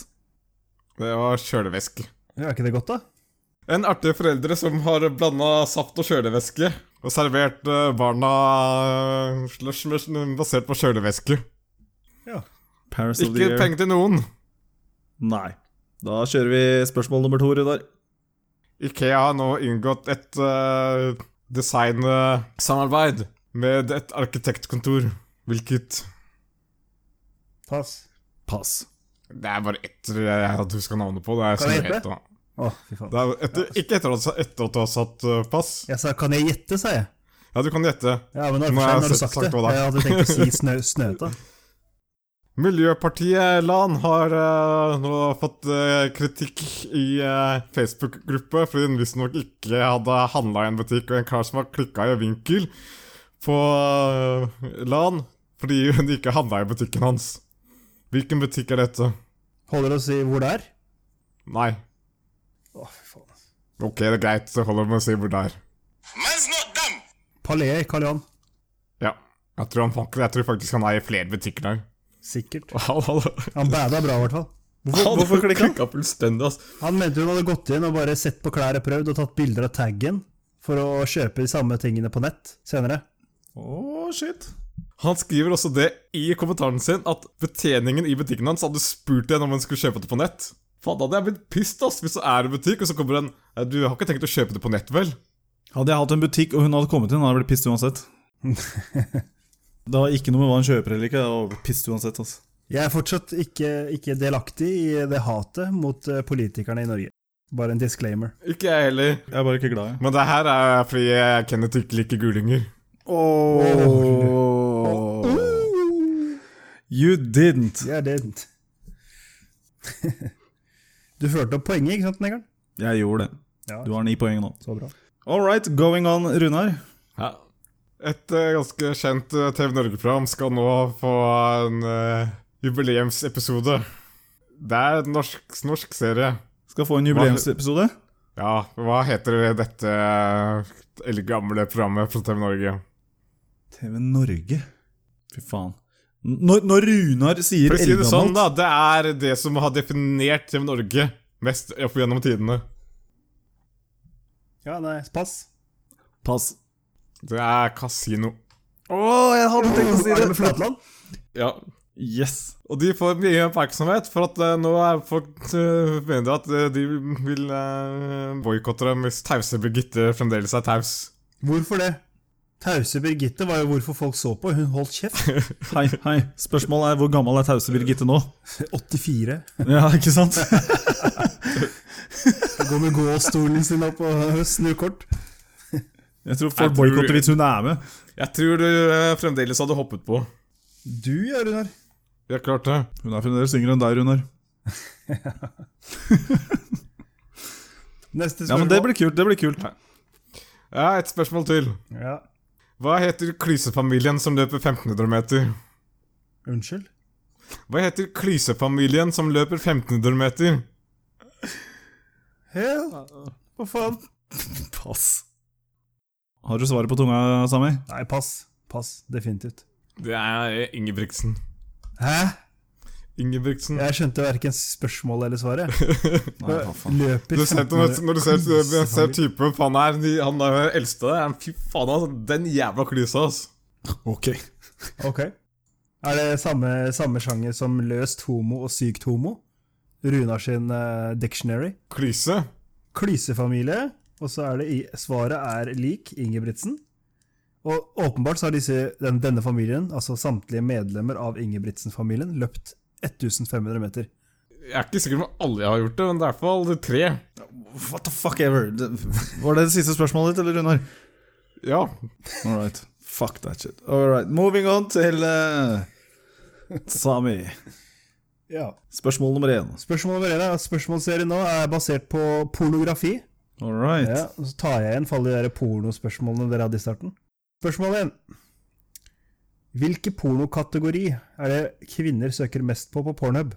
Speaker 3: Det var kjølevæske.
Speaker 2: Ja, er ikke det godt, da?
Speaker 3: En artig foreldre som har blanda saft og kjølevæske og servert eh, barna eh, slush med- basert på kjølevæske.
Speaker 1: Paris of the
Speaker 3: Ikke
Speaker 1: year.
Speaker 3: penger til noen.
Speaker 1: Nei. Da kjører vi spørsmål nummer to, Runar.
Speaker 3: Ikea har nå inngått et eh, designsamarbeid med et arkitektkontor. Hvilket
Speaker 2: Pass.
Speaker 1: Pass.
Speaker 3: Det er bare ett jeg hadde huska navnet på. Det
Speaker 2: Kan
Speaker 3: er
Speaker 2: jeg
Speaker 3: sånn
Speaker 2: hjelpe?
Speaker 3: helt da.
Speaker 2: Å, fy faen.
Speaker 3: Det er etter, ikke etter at, etter at du har satt eh, pass.
Speaker 2: Jeg sa 'kan jeg gjette', sa jeg.
Speaker 3: Ja, du kan gjette.
Speaker 2: Ja, men nå
Speaker 3: Nå har
Speaker 2: har
Speaker 3: jeg
Speaker 2: du har du
Speaker 3: sett-
Speaker 2: sagt det.
Speaker 3: sagt hva det er.
Speaker 2: Jeg hadde tenkt å si snø, Snøhetta.
Speaker 3: Miljøpartiet LAN har eh, nå fått eh, kritikk i eh, Facebook-gruppe fordi den visstnok ikke hadde handla i en butikk, og en kar som har klikka i vinkel på eh, LAN fordi hun ikke handla i butikken hans. Hvilken butikk er dette?
Speaker 2: Holder det å si hvor det er?
Speaker 3: Nei.
Speaker 2: Å, fy faen.
Speaker 3: Ok, det er greit, så holder det med å si hvor det er.
Speaker 4: Man's not dumb.
Speaker 2: Palais Karl Johan.
Speaker 3: Ja. Jeg tror, han, fant- jeg tror faktisk han er i flere butikker der.
Speaker 2: Sikkert.
Speaker 3: Han hadde
Speaker 2: Han bada bra, i hvert fall.
Speaker 1: hvorfor klikket han?
Speaker 3: klikket fullstendig, ass.
Speaker 2: Han mente hun hadde gått inn og bare sett på klær og prøvd, og tatt bilder av taggen for å kjøpe de samme tingene på nett senere.
Speaker 1: Å, shit.
Speaker 3: Han skriver også det i kommentaren sin, at betjeningen i butikken hans hadde spurt igjen om hun skulle kjøpe det på nett. Faen, da hadde jeg blitt pissed, ass, hvis det er en butikk, og så kommer en «Nei, Du har ikke tenkt å kjøpe det på nett, vel?
Speaker 1: Hadde jeg hatt en butikk og hun hadde kommet inn, hadde jeg blitt pissed uansett. det har ikke noe med hva han kjøper eller ikke, jeg hadde pissed uansett. Altså.
Speaker 2: Jeg er fortsatt ikke, ikke delaktig i det hatet mot eh, politikerne i Norge. Bare en disclaimer.
Speaker 3: Ikke jeg heller.
Speaker 1: Jeg er bare ikke glad i
Speaker 3: Men det her er fordi jeg- Kenneth ikke liker gulinger.
Speaker 1: You didn't.
Speaker 2: Det er det. Du førte opp poenget, ikke sant, Negeren?
Speaker 1: Jeg gjorde det.
Speaker 2: Ja,
Speaker 1: Du har ni poeng nå.
Speaker 2: så bra.
Speaker 1: All right, going on, Runar.
Speaker 3: Ja. Et eh, ganske kjent eh, TV Norge-program skal nå få en eh, jubileumsepisode. Det er en norsk, norsk serie.
Speaker 1: Skal få en jubileumsepisode.
Speaker 3: Ja, hva heter dette eller gamle programmet fra TV Norge?
Speaker 1: TV Norge. Fy faen. Når, når Runar sier
Speaker 3: For å si det
Speaker 1: eldgammelt
Speaker 3: sånn, da. Det er det som har definert TV Norge mest opp gjennom tidene.
Speaker 2: Ja, nei, pass.
Speaker 1: Pass.
Speaker 3: Det er kasino.
Speaker 1: Å, jeg hadde tenkt å si
Speaker 2: Er det med
Speaker 1: det!
Speaker 2: Flatland?
Speaker 3: Ja.
Speaker 1: Yes.
Speaker 3: Og de får mye oppmerksomhet, for at eh, nå er folk eh, mener at eh, de vil uh, boikotte dem hvis tause Birgitte fremdeles er taus.
Speaker 2: Hvorfor det? Tause Birgitte var jo hvorfor folk så på. Hun holdt kjeft.
Speaker 1: Hei, hei. Spørsmålet er hvor gammel er tause Birgitte nå?
Speaker 2: 84.
Speaker 1: Ja, ikke sant?
Speaker 2: Går med gåstolen sin opp og snur kort.
Speaker 1: Jeg tror
Speaker 3: Jeg
Speaker 1: folk
Speaker 3: tror-
Speaker 1: boikotter hvis hun er med.
Speaker 3: Jeg tror du eh, fremdeles hadde hoppet på.
Speaker 2: Du, ja, Runar.
Speaker 3: Vi har klart det.
Speaker 1: Hun er fremdeles yngre enn deg, Runar. Ja,
Speaker 2: Neste spørsmål.
Speaker 1: men det blir kult. det blir kult
Speaker 3: Ja, Et spørsmål til.
Speaker 2: Ja.
Speaker 3: Hva heter klysefamilien som løper 1500 meter?
Speaker 2: Unnskyld?
Speaker 3: Hva heter klysefamilien som løper 1500 meter?
Speaker 2: Hell, hva faen?
Speaker 1: Pass. Har du svaret på tunga, Sami?
Speaker 2: Nei, pass. Pass, definitivt.
Speaker 3: Det er Ingebrigtsen.
Speaker 2: Hæ?
Speaker 3: Ingebrigtsen.
Speaker 2: Jeg skjønte hverken spørsmålet eller svaret.
Speaker 1: Nei, hva faen.
Speaker 2: Løper
Speaker 3: Du ser, når, når du ser,
Speaker 2: Klysefamilie.
Speaker 3: ser typen faen her, de- han er den eldste der, fy faen, altså, den jævla klysa, ass.
Speaker 1: Ok.
Speaker 2: Ok. Er det samme, samme sjanger som løst homo og sykt homo? Runar sin eh, dictionary.
Speaker 3: Klyse?
Speaker 2: Klysefamilie. Og så er det i, svaret er lik Ingebrigtsen. Og åpenbart så har disse, den, denne familien, altså samtlige medlemmer av Ingebrigtsen-familien, løpt 1500 meter.
Speaker 3: Jeg er ikke sikker på om alle har gjort det, men det er i hvert fall tre.
Speaker 1: What the fuck ever? Det, var det det siste spørsmålet ditt, eller, Runar?
Speaker 3: Ja.
Speaker 1: All right. Fuck that shit. All right. Moving on til eh, Sami.
Speaker 2: Ja.
Speaker 1: Spørsmål nummer én.
Speaker 2: Spørsmål nummer én er at spørsmålsserien nå er basert på pornografi.
Speaker 1: All right.
Speaker 2: Ja, og så tar jeg igjen for alle de der pornospørsmålene dere hadde i starten. Spørsmål én. Hvilken pornokategori er det kvinner søker mest på på Pornhub?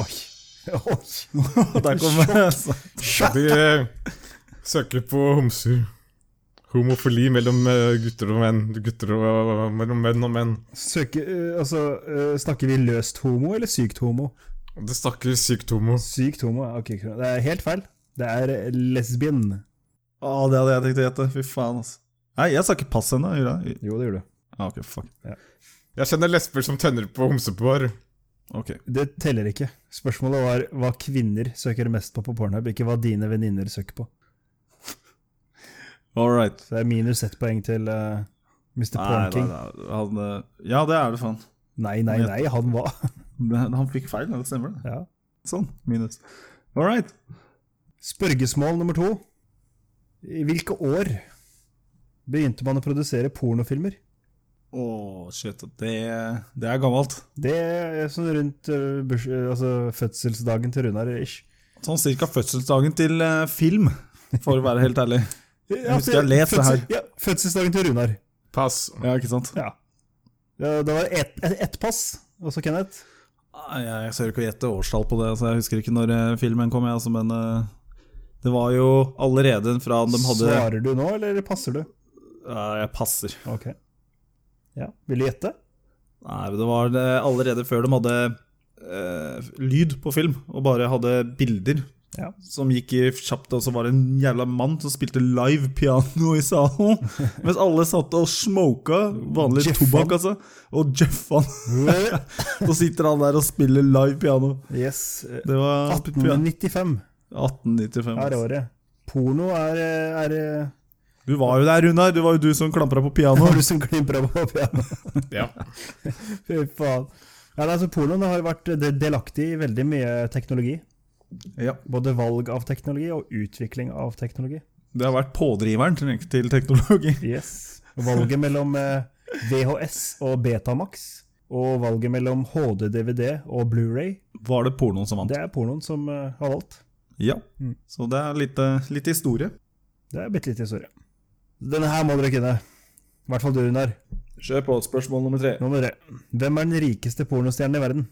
Speaker 2: Oi. Oi.
Speaker 1: Der kommer altså.
Speaker 3: De eh, søker på homser. Homofili mellom eh, gutter og menn. Gutter og, mellom menn og menn.
Speaker 2: Søker, eh, altså, eh, snakker vi løst homo eller sykt homo?
Speaker 3: Og Det snakker sykt homo.
Speaker 2: Sykt homo, ja, ok. klar. Det er helt feil. Det er eh, lesbien.
Speaker 1: Å, det hadde jeg tenkt å gjette. Fy faen, altså. Nei, jeg sa ikke pass ennå. gjorde jeg?
Speaker 2: Jo, det gjør du.
Speaker 1: Ah, ok, fuck.
Speaker 3: Jeg kjenner lesber som tenner på homsebar.
Speaker 1: Ok.
Speaker 2: Det teller ikke. Spørsmålet var hva kvinner søker mest på på Pornhub, ikke hva dine venninner søker på.
Speaker 1: All right.
Speaker 2: Så det er minus ett poeng til eh,
Speaker 1: Nei,
Speaker 2: Mr.
Speaker 1: nei,
Speaker 2: Pornking.
Speaker 1: nei. Han, eh, ja, det er det, faen.
Speaker 2: Nei, nei, nei, han var
Speaker 1: Men Han fikk feil, det stemmer det.
Speaker 2: ja.
Speaker 1: Sånn, minus. All right.
Speaker 2: Spørgesmål nummer to. I hvilke år begynte man å produsere pornofilmer?
Speaker 1: Å, shit. Det, det er gammelt.
Speaker 2: Det er sånn rundt eh, burs, eh, altså fødselsdagen til Runar ish.
Speaker 1: Sånn cirka fødselsdagen til eh, film, for å være helt ærlig.
Speaker 2: Jeg
Speaker 1: husker jeg har lest det her.
Speaker 2: Ja, fødselsdagen til Runar.
Speaker 3: Pass.
Speaker 1: Ja, ikke sant?
Speaker 2: Ja. Ja, Det var ett et, ett pass, også Kenneth.
Speaker 1: Nei, Ah, Jeg, jeg ser ikke å gjette årstall på det, så jeg husker ikke når eh, filmen kom. Jeg, altså, men eh, det var jo allerede fra de hadde
Speaker 2: Svarer du nå, eller passer du?
Speaker 1: Ja, Jeg passer.
Speaker 2: Ok. Ja, Vil du gjette?
Speaker 1: Nei, men det var det allerede før de hadde eh, lyd på film, og bare hadde bilder
Speaker 2: Ja.
Speaker 1: som gikk i kjapt, og så var det en jævla mann som spilte live piano i salen, mens alle satt og smoka vanlig
Speaker 2: Jeffa.
Speaker 1: tobakk, altså, og jeffa. så sitter han der og spiller live piano.
Speaker 2: Yes. eh,
Speaker 1: Det var
Speaker 2: 1895
Speaker 1: 1895.
Speaker 2: er
Speaker 1: altså.
Speaker 2: året. Porno er, eh, er eh,
Speaker 1: Du var jo der, Runar. Det var jo du som klampra på piano.
Speaker 2: Har du som klimpra på piano?
Speaker 3: Ja.
Speaker 2: Fy faen. Ja, nei, altså Pornoen har vært eh, del- delaktig i veldig mye teknologi.
Speaker 1: Ja,
Speaker 2: Både valg av teknologi og utvikling av teknologi.
Speaker 1: Det har vært pådriveren til- til teknologi.
Speaker 2: Yes. Valget mellom eh, VHS og Betamax, og valget mellom HD-DVD og Blu-ray,
Speaker 1: Var det pornoen som vant?
Speaker 2: det er pornoen som eh, har valgt.
Speaker 1: Ja.
Speaker 2: Mm.
Speaker 1: Så det er litt, eh, litt historie.
Speaker 2: Det er bitte litt historie. Denne her må dere kunne. I hvert fall du, Runar.
Speaker 1: Kjør på spørsmål nummer tre.
Speaker 2: Nå må dere. Hvem er den rikeste pornostjernen i verden?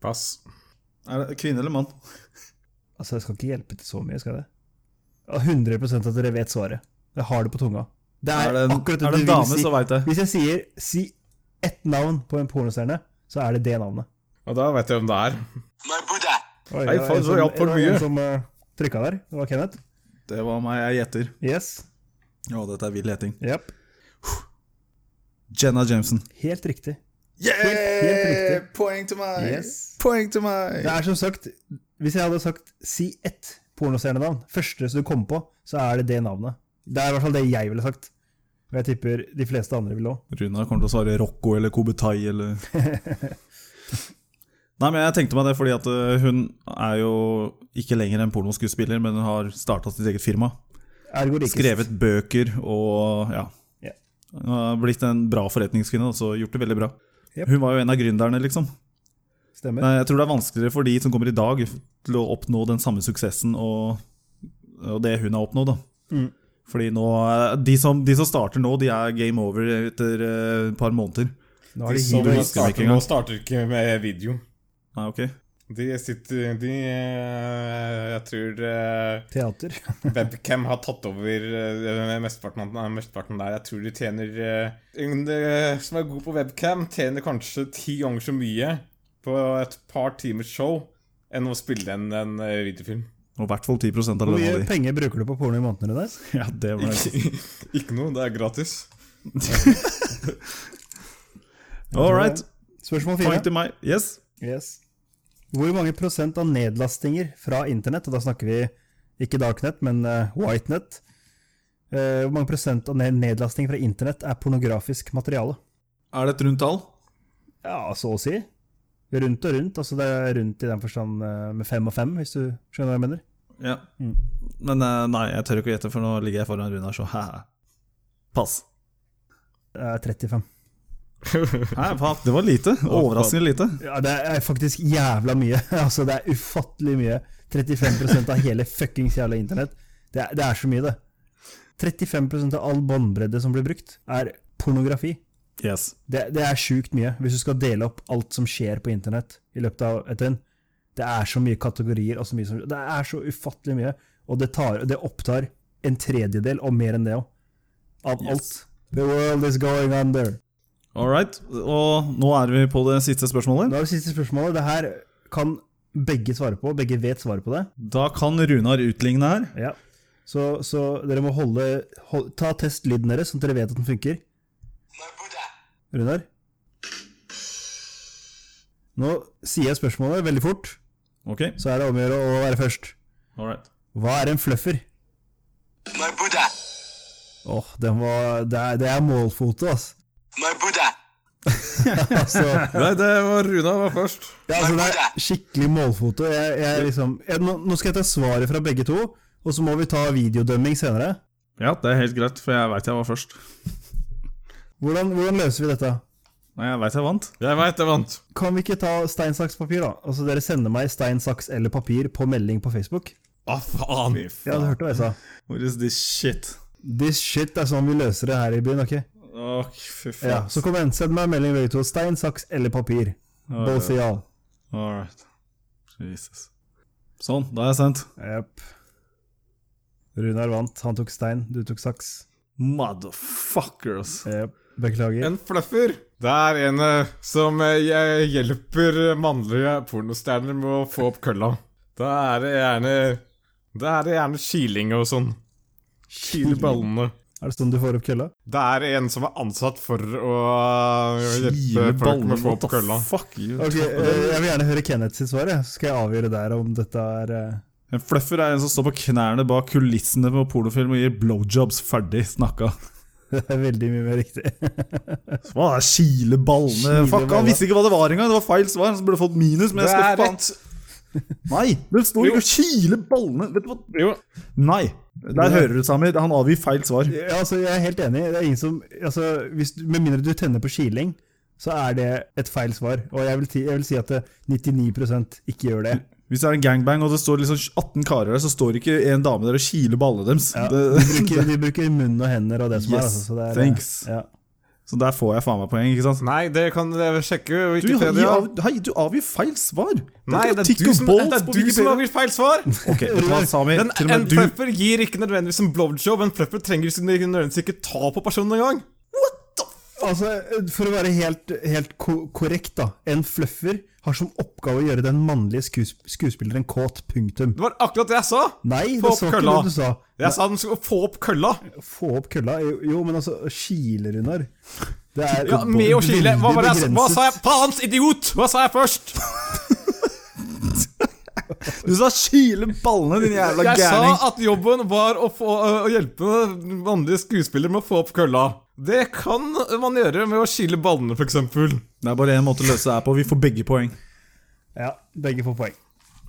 Speaker 3: Pass.
Speaker 1: Er det kvinne eller mann?
Speaker 2: Altså, jeg skal ikke hjelpe til så mye, skal jeg det? Ja, 100 at dere vet svaret. Jeg har det på tunga. Det
Speaker 1: Er
Speaker 2: er,
Speaker 1: det en,
Speaker 2: akkurat det
Speaker 1: er det en
Speaker 2: du vil
Speaker 1: dame,
Speaker 2: si.
Speaker 1: så veit jeg.
Speaker 2: Hvis jeg sier si ett navn på en pornostjerne, så er det det navnet.
Speaker 3: Og da vet jeg hvem det er.
Speaker 4: My Buddha.
Speaker 2: Oi,
Speaker 3: Nei,
Speaker 2: det var
Speaker 3: faen,
Speaker 2: en
Speaker 3: så
Speaker 2: som-
Speaker 3: hjalp for
Speaker 2: det var en
Speaker 3: mye.
Speaker 2: Som, eh, trykket der. Det var Kenneth.
Speaker 1: Det var meg jeg gjetter.
Speaker 2: Yes.
Speaker 1: Å, dette er vill gjeting.
Speaker 2: Jep.
Speaker 1: Jenna Jameson.
Speaker 2: Helt riktig. helt
Speaker 1: Yeah!
Speaker 2: riktig.
Speaker 1: Poeng til meg!
Speaker 2: Yes.
Speaker 1: Poeng til meg!
Speaker 2: Det er som sagt Hvis jeg hadde sagt si ett pornostjernenavn, første som du kom på, så er det det navnet. Det er i hvert fall det jeg ville sagt. Og jeg tipper de fleste andre ville òg.
Speaker 1: Runar kommer til å svare Rocco eller Kobutai eller Nei, men jeg tenkte meg det fordi at eh, hun er jo ikke lenger en pornoskuespiller, men hun har starta sitt eget firma.
Speaker 2: Ergo rikest.
Speaker 1: Skrevet bøker og ja.
Speaker 2: Ja.
Speaker 1: Hun har blitt en bra forretningskvinne og så gjort det veldig bra.
Speaker 2: Jep.
Speaker 1: Hun var jo en av gründerne, liksom.
Speaker 2: Stemmer.
Speaker 1: Nei, jeg tror det er vanskeligere for de som kommer i dag, til å oppnå den samme suksessen og, og det hun har oppnådd. Da.
Speaker 2: Mm.
Speaker 1: Fordi nå, eh, de, som, de som starter nå, de er game over etter eh, et par måneder.
Speaker 2: Nå er
Speaker 3: De
Speaker 2: det
Speaker 3: som
Speaker 2: hero.
Speaker 1: ikke
Speaker 3: starter nå,
Speaker 1: engang.
Speaker 3: starter ikke med video.
Speaker 1: Nei, ok.
Speaker 3: De sitter De eh, Jeg tror eh,
Speaker 2: Teater.
Speaker 3: Webcam har tatt over eh, mesteparten, av- nei, mesteparten der. Jeg tror de tjener eh, En eh, som er god på webcam, tjener kanskje ti ganger så mye på et par timers show enn å spille en, en eh, videofilm.
Speaker 1: Og i hvert fall 10 av
Speaker 2: Hvor
Speaker 1: lønna
Speaker 2: mye
Speaker 1: di.
Speaker 2: penger bruker du på porno i måneden? Der?
Speaker 1: Ja, det var det.
Speaker 3: Ikke, ikke noe, det er gratis.
Speaker 1: All right.
Speaker 2: Spørsmål
Speaker 1: Poeng
Speaker 2: fire.
Speaker 1: til meg. Yes.
Speaker 2: Yes. Hvor mange prosent av nedlastinger fra internett, og da snakker vi ikke darknet, men eh, whitenet, Eh, Hvor mange prosent av ned- nedlasting fra internett er pornografisk materiale?
Speaker 1: Er det et rundt tall?
Speaker 2: Ja, så å si. Rundt og rundt. Altså det er rundt i den forstand eh, med fem og fem, hvis du skjønner hva jeg mener.
Speaker 1: Ja.
Speaker 2: Mm.
Speaker 1: Men eh, nei, jeg tør ikke å gjette, for nå ligger jeg foran Runar, så hæ. Pass.
Speaker 2: Det er 35.
Speaker 1: Hæ, fuck, det var lite. Overraskende lite.
Speaker 2: Ja, det er faktisk jævla mye. altså Det er ufattelig mye. 35 av hele fuckings jævla internett. Det er, det er så mye, det. 35 av all båndbredde som blir brukt, er pornografi.
Speaker 1: Yes.
Speaker 2: Det, det er sjukt mye, hvis du skal dele opp alt som skjer på internett i løpet av et døgn. Det er så mye kategorier, og så mye som, det er så ufattelig mye. Og det, tar, det opptar en tredjedel, og mer enn det òg, av
Speaker 1: Yes.
Speaker 2: alt. The world is going under.
Speaker 1: All right. Og nå er vi på det siste spørsmålet.
Speaker 2: Da er det siste spørsmålet. Det her kan begge svare på, begge vet svaret på det.
Speaker 1: Da kan Runar utligne her.
Speaker 2: Ja. Så, så dere må holde, hold, ta testlyden deres, sånn at dere vet at den funker.
Speaker 4: My brother.
Speaker 2: Runar? Nå sier jeg spørsmålet veldig fort,
Speaker 1: Ok,
Speaker 2: så er det om å gjøre å være først.
Speaker 1: all right.
Speaker 2: Hva er en fluffer?
Speaker 4: My brother.
Speaker 2: Åh, den var Det er, det er målfoto, altså.
Speaker 4: My brother.
Speaker 2: altså.
Speaker 3: Nei, det var Runa var først.
Speaker 2: Ja, altså, det er skikkelig målfoto. Jeg, jeg liksom jeg, nå, nå skal jeg ta svaret fra begge to, og så må vi ta videodømming senere.
Speaker 1: Ja, det er helt greit, for jeg veit jeg var først.
Speaker 2: Hvordan, hvordan løser vi dette?
Speaker 1: Nei, jeg veit jeg vant.
Speaker 3: Jeg veit jeg vant.
Speaker 2: Kan vi ikke ta stein, saks, papir, da? Altså, dere sender meg stein, saks eller papir på melding på Facebook.
Speaker 3: Å, faen.
Speaker 2: Ja, du hørte hva jeg sa.
Speaker 1: Ah, What is this shit?
Speaker 2: This shit er sånn vi løser det her i byen, ok?
Speaker 1: Åh, fy faen.
Speaker 2: Ja, så kom igjen, send meg en melding begge to. Stein, saks eller papir. Both of y'all.
Speaker 1: All right. Jesus. Sånn, da er jeg sendt.
Speaker 2: Jepp. Runar vant, han tok stein, du tok saks.
Speaker 1: Motherfuckers.
Speaker 2: Jepp. Beklager.
Speaker 3: En fluffer. Det er en eh, som eh, jeg hjelper mannlige pornostjerner med å få opp kølla. Da er det gjerne Da er det gjerne kiling og sånn. Kile ballene.
Speaker 2: Er det sånn du får opp kølla?
Speaker 3: Det er en som er ansatt for å hjelpe
Speaker 1: Kile
Speaker 3: folk med
Speaker 1: baller,
Speaker 3: å få
Speaker 1: what
Speaker 3: opp
Speaker 1: the
Speaker 3: kølla.
Speaker 1: fuck? you
Speaker 2: Ok, eh, Jeg vil gjerne høre Kenneth sitt svar, jeg. så skal jeg avgjøre der om dette er eh,
Speaker 1: En fluffer er en som står på knærne bak kulissene på pornofilm og gir blowjobs. Ferdig snakka.
Speaker 2: Det er veldig mye mer riktig.
Speaker 1: Hva er kile ballene?
Speaker 2: Kile
Speaker 1: Fuck, han
Speaker 2: baller.
Speaker 1: visste ikke hva det var engang! Det var feil svar, så burde fått minus. Men jeg
Speaker 3: Det
Speaker 1: skal
Speaker 3: er
Speaker 1: faen Nei! Det står
Speaker 3: Jo.
Speaker 1: ikke 'kile ballene'. Vet du hva?
Speaker 3: Jo,
Speaker 1: Nei! Der hører du, Samir. Han avgir feil svar.
Speaker 2: Ja, altså, jeg er helt enig. Det er ingen som, altså, hvis, du- med mindre du tenner på kiling, så er det et feil svar. Og jeg vil, ti- jeg vil si at det- 99 ikke gjør det.
Speaker 1: Hvis det er en gangbang og det står liksom 18 karer der, så står ikke en dame der og kiler ballene deres.
Speaker 2: Ja, de,
Speaker 1: Det,
Speaker 2: bruker, de bruker munn og hender og det som er.
Speaker 1: Yes,
Speaker 2: Altså, så det er eh,
Speaker 1: thanks.
Speaker 2: Ja.
Speaker 1: så der får jeg faen meg poeng, ikke sant?
Speaker 3: Nei, det kan dere sjekke.
Speaker 1: Du, gir
Speaker 3: Wikipedia.
Speaker 1: av- hei, du avgir feil svar!
Speaker 3: Nei, det er du som, det er du som lager feil svar!
Speaker 1: Ok, vet du hva, Samir?
Speaker 3: Den,
Speaker 1: Til og
Speaker 3: en
Speaker 1: med du
Speaker 3: fluffer gir ikke nødvendigvis en blowjob. En fluffer trenger ikke nødvendigvis ikke ta på personen engang.
Speaker 2: Altså, for å være helt, helt ko korrekt, da. En fluffer har som oppgave å gjøre den mannlige skues skuespilleren kåt. Punktum.
Speaker 3: Det var akkurat det jeg sa!
Speaker 2: Nei, det
Speaker 3: Få opp
Speaker 2: så ikke
Speaker 3: kølla.
Speaker 2: det du sa.
Speaker 3: Jeg sa den skulle få opp kølla.
Speaker 2: Få opp kølla? Jo, jo men altså, kile, Runar. Det er
Speaker 3: Ja, Med å kile. Hva, var det jeg sa? hva
Speaker 2: begrenset.
Speaker 3: sa jeg? Faens idiot! Hva sa jeg først?
Speaker 1: Du sa 'kile ballene', din jævla
Speaker 3: Jeg sa
Speaker 1: gærning.
Speaker 3: at jobben var å, få, å hjelpe vanlige skuespillere med å få opp kølla. Det kan man gjøre med å kile ballene, f.eks.
Speaker 1: Det er bare én måte å løse det her på. Vi får begge poeng.
Speaker 2: Ja, begge får poeng.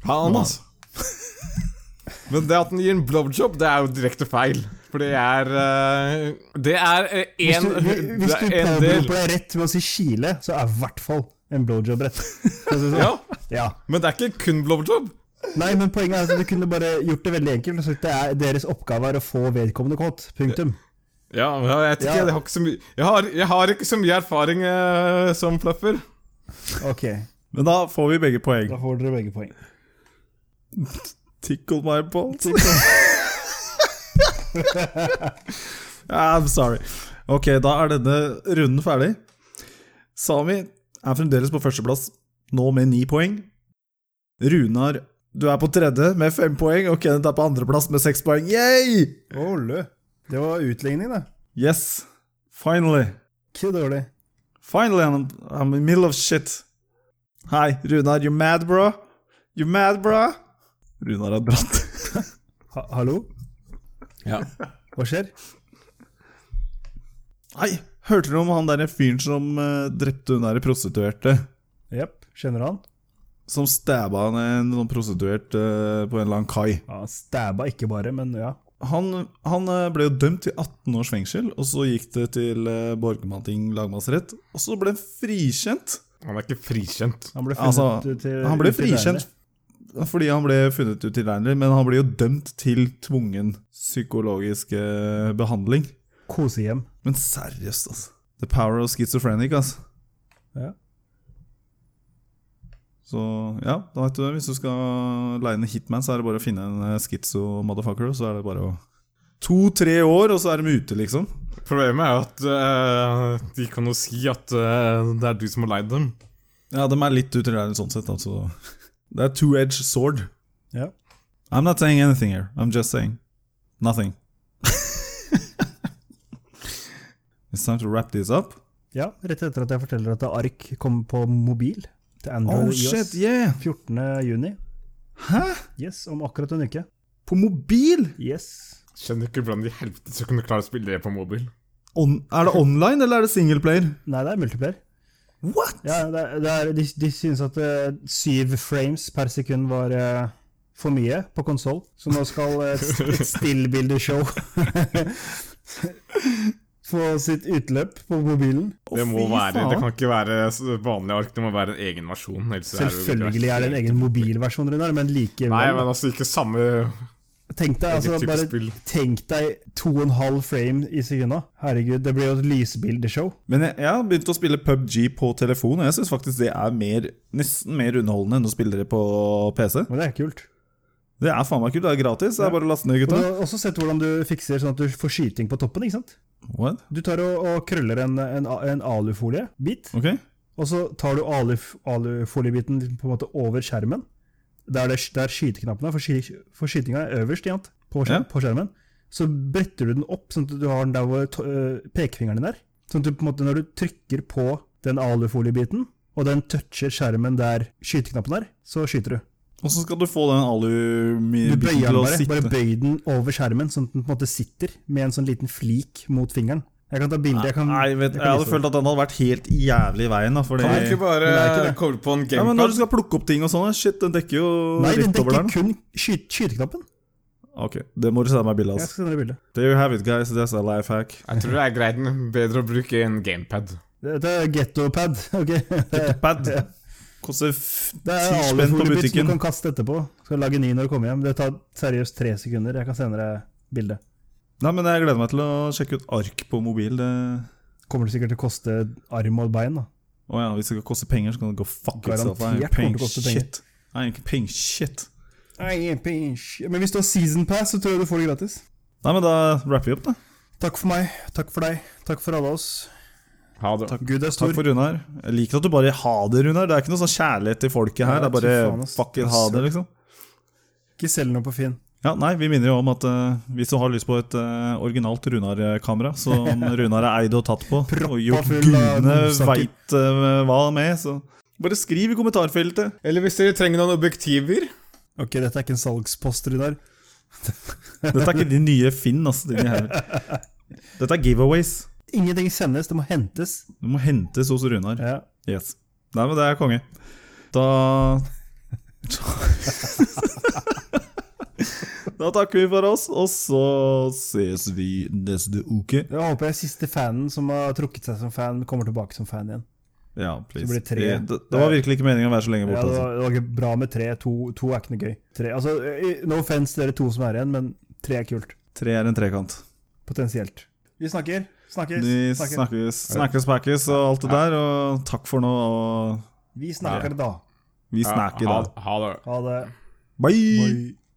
Speaker 3: Faen, altså. Men det at den gir en blowjob, det er jo direkte feil. For det er eh, Det er eh,
Speaker 2: Hvis
Speaker 3: en,
Speaker 2: du, hvis
Speaker 3: det
Speaker 2: du
Speaker 3: er en del
Speaker 2: påberoper deg rett med å si kile, så er i hvert fall en blowjob rett. Skal jeg si
Speaker 3: Ja,
Speaker 2: sånn? ja.
Speaker 3: men det er ikke kun blowjob.
Speaker 2: Nei, men poenget er at du kunne bare gjort det veldig enkelt. og sagt det er deres oppgave er å få vedkommende kåt. Punktum.
Speaker 3: Ja, men jeg vet ikke,
Speaker 2: Ja.
Speaker 3: jeg har ikke så mye jeg har, jeg har ikke så mye erfaring eh, som fluffer.
Speaker 2: Ok,
Speaker 1: Men da får vi begge poeng.
Speaker 2: da får dere begge poeng.
Speaker 1: Tickle my balls. Ah, I'm sorry. Ok, da er denne runden ferdig. Sami er fremdeles på førsteplass, nå med ni poeng. Runar, du er på tredje med fem poeng, og Kenneth er på andreplass med seks poeng. Yay!
Speaker 2: Olle. Det var utligning, da.
Speaker 1: Yes, finally.
Speaker 2: Ikke dårlig.
Speaker 1: Finally, I'm, I'm in the middle of shit. Hei, Runar, you mad, bro? You mad, bro? Runar er dratt.
Speaker 2: Ha Hallo?
Speaker 3: Ja.
Speaker 2: Hva skjer?
Speaker 1: Nei, hørte du om han der fyren som eh, drepte hun der prostituerte?
Speaker 2: Jepp. Kjenner du han?
Speaker 1: Som stabba en, en sånn prostituert eh, på en eller annen kai.
Speaker 2: Ja, han stabba ikke bare, men ja.
Speaker 1: Han, han eh, ble jo dømt til 18 års fengsel, og så gikk det til eh, Borgmanting lagmannsrett. Og så ble han frikjent!
Speaker 3: Han er ikke frikjent.
Speaker 2: Han ble funnet
Speaker 1: Altså,
Speaker 2: ut til
Speaker 1: han ble
Speaker 2: ut til
Speaker 1: frikjent
Speaker 2: regnet.
Speaker 1: fordi han ble funnet utilregnelig, men han ble jo dømt til tvungen psykologisk eh, behandling.
Speaker 2: Kosehjem.
Speaker 1: Men seriøst, altså. The power of schizophrenic, altså.
Speaker 2: Ja.
Speaker 1: Så ja, da vet du det. Hvis du skal leie inn en hitman, så er det bare å finne en schizo-motherfucker, og så er det bare å To-tre år, og så er de ute, liksom.
Speaker 3: Problemet er jo at eh, de kan jo si at eh, det er du som har leid dem.
Speaker 1: Ja, de er litt utilregnelige sånn sett, altså. Det er two-edged sword.
Speaker 2: Ja.
Speaker 1: I'm not saying anything here. I'm just saying nothing. It's time to wrap this up.
Speaker 2: ja, rett etter at jeg forteller at Ark kommer på mobil til Android
Speaker 1: Oh
Speaker 2: og iOS
Speaker 1: shit, yeah!
Speaker 2: 14. juni.
Speaker 1: Hæ?
Speaker 2: Yes, om akkurat en uke.
Speaker 1: På mobil?
Speaker 2: Yes.
Speaker 3: Skjønner ikke hvordan de i helvete skal kunne klare å spille det på mobil.
Speaker 1: On er det online, eller er det singleplayer?
Speaker 2: Nei, det er multiplayer.
Speaker 1: What?!
Speaker 2: Ja, det er, det er, de, de synes at eh, syv frames per sekund var eh, for mye på konsoll, så nå skal eh, st- et stillbildeshow få sitt utløp på mobilen.
Speaker 3: Det må
Speaker 1: fy
Speaker 3: være,
Speaker 1: faen.
Speaker 3: det kan ikke være s- vanlig ark, det må være en egen versjon. ellers er det jo ikke
Speaker 2: Selvfølgelig er det en
Speaker 3: verst.
Speaker 2: egen mobilversjon, Runar, men likevel.
Speaker 3: Nei, men altså ikke samme
Speaker 2: tenk deg, altså,
Speaker 3: eget type
Speaker 2: bare
Speaker 3: spill.
Speaker 2: tenk deg to og en halv frame i sekunda. Herregud, det blir jo et lysbildeshow.
Speaker 1: Men jeg, jeg har begynt å spille PubG på telefon, og jeg syns faktisk det er mer, nesten mer underholdende enn å spille det på PC.
Speaker 2: Og det er kult.
Speaker 1: Det er faen meg kult, det er gratis. Det er bare å laste ned,
Speaker 2: Og du
Speaker 1: gutta.
Speaker 2: har også sett hvordan du fikser sånn at du får skyting på toppen, ikke sant?
Speaker 1: What?
Speaker 2: Du tar og, og krøller en, en, en alufolie-bit,
Speaker 1: Ok.
Speaker 2: og så tar du aluf- alufoliebiten på en måte over skjermen. Der, det, der skyteknappen er, for, sky, for skytinga er øverst igjen på, skjer-
Speaker 1: Ja.
Speaker 2: på skjermen. Så bretter du den opp, sånn at du har den der hvor to- øh, pekefingeren din er. Sånn at du på en måte, når du trykker på den alufoliebiten, og den toucher skjermen der skyteknappen er, så skyter du.
Speaker 1: Åssen skal du få den
Speaker 2: Du
Speaker 1: alumibiten
Speaker 2: bøyer
Speaker 1: til
Speaker 2: den
Speaker 1: å
Speaker 2: bare. Bare
Speaker 1: sitte?
Speaker 2: bøy den over skjermen, sånn at den på en måte sitter med en sånn liten flik mot fingeren. Jeg kan ta bilde. Jeg kan,
Speaker 1: Nei, vet, jeg
Speaker 2: kan
Speaker 1: hadde
Speaker 2: vise deg.
Speaker 1: følt at den hadde vært helt jævlig i veien. Da, fordi...
Speaker 3: Kan du ikke bare
Speaker 2: Men det er ikke det. altså-
Speaker 3: koble på en
Speaker 1: Ja, men når
Speaker 3: gamepad?
Speaker 1: du skal plukke opp ting og sånn, shit, den dekker jo
Speaker 2: Nei, den
Speaker 1: rett over
Speaker 2: dekker
Speaker 1: der. nå.
Speaker 2: kun skyt skyteknappen.
Speaker 1: Ok, det må du sende meg bilde av.
Speaker 2: Jeg
Speaker 1: Altså.
Speaker 2: skal sende deg bilde.
Speaker 1: There you have it, guys. That's a life hack.
Speaker 3: Jeg tror det er greit bedre å bruke en gamepad.
Speaker 2: Dette er gettopad. ok?
Speaker 1: Pad. Koster f- ti
Speaker 2: Det er
Speaker 1: spenn på
Speaker 2: alufoliebit som du
Speaker 1: butikken.
Speaker 2: kan kaste etterpå. Skal lage ny når du kommer hjem. Det tar seriøst tre sekunder. Jeg kan sende deg bilde.
Speaker 1: Nei, men Jeg gleder meg til å sjekke ut ark på mobil. Det...
Speaker 2: Kommer det sikkert til å koste arm og bein, da.
Speaker 1: Å ja, Hvis det skal koste penger, så kan det gå fuck itself.
Speaker 2: Garantert
Speaker 1: Nei,
Speaker 2: kommer
Speaker 1: peng
Speaker 2: det til å koste penger.
Speaker 1: shit. Nei, ikke peng shit.
Speaker 2: Men hvis du har season pass, så tror jeg du får det gratis.
Speaker 1: Nei, men da rapper vi opp, da.
Speaker 2: Takk for meg. Takk for deg. Takk for alle oss.
Speaker 3: Ha det.
Speaker 2: Gud er
Speaker 1: Takk
Speaker 2: stor.
Speaker 1: for Runar. Jeg liker at du bare ha det, Runar. Det er ikke noe sånn kjærlighet til folket her.
Speaker 2: Ja,
Speaker 1: Det er bare
Speaker 2: fy faen, ass.
Speaker 1: fucking ha det, liksom.
Speaker 2: Ikke selg noe på Finn.
Speaker 1: Ja, nei, Vi minner jo om at eh, hvis du har lyst på et eh, originalt Runar-kamera, som Runar er eid og tatt på, og jo
Speaker 2: full av
Speaker 1: gudene
Speaker 2: godsaker.
Speaker 1: veit eh, hva med, så bare skriv i kommentarfeltet.
Speaker 3: Eller hvis dere trenger noen objektiver
Speaker 2: Ok, dette er ikke en salgspost, Runar.
Speaker 1: Dette er ikke de nye Finn. Altså, de her. Dette er giveaways.
Speaker 2: Ingenting sendes, det må hentes.
Speaker 1: Det må hentes hos Runar.
Speaker 2: Ja.
Speaker 1: Yes. Nei, men det er konge. Da Da takker vi for oss, og så ses vi neste uke.
Speaker 2: Jeg håper jeg siste fanen som har trukket seg som fan, kommer tilbake som fan igjen.
Speaker 1: Ja, please.
Speaker 2: blir det tre.
Speaker 1: Det, det, det var virkelig ikke meningen å være så lenge
Speaker 2: Ja,
Speaker 1: borte.
Speaker 2: det,
Speaker 1: Altså.
Speaker 2: var, det var ikke bra med tre. To, to er ikke noe gøy. Tre, altså, eh, no offense dere to som er igjen, men tre er kult.
Speaker 1: Tre er en trekant.
Speaker 2: Potensielt. Vi snakker. Snakkes.
Speaker 1: Vi
Speaker 2: snakker.
Speaker 1: snakkes, snakkes, pakkes og alt det der, og takk for nå, og
Speaker 2: Vi snakker da.
Speaker 1: vi snakker
Speaker 3: ha,
Speaker 1: da.
Speaker 3: ha det.
Speaker 2: Ha det.
Speaker 1: Bye!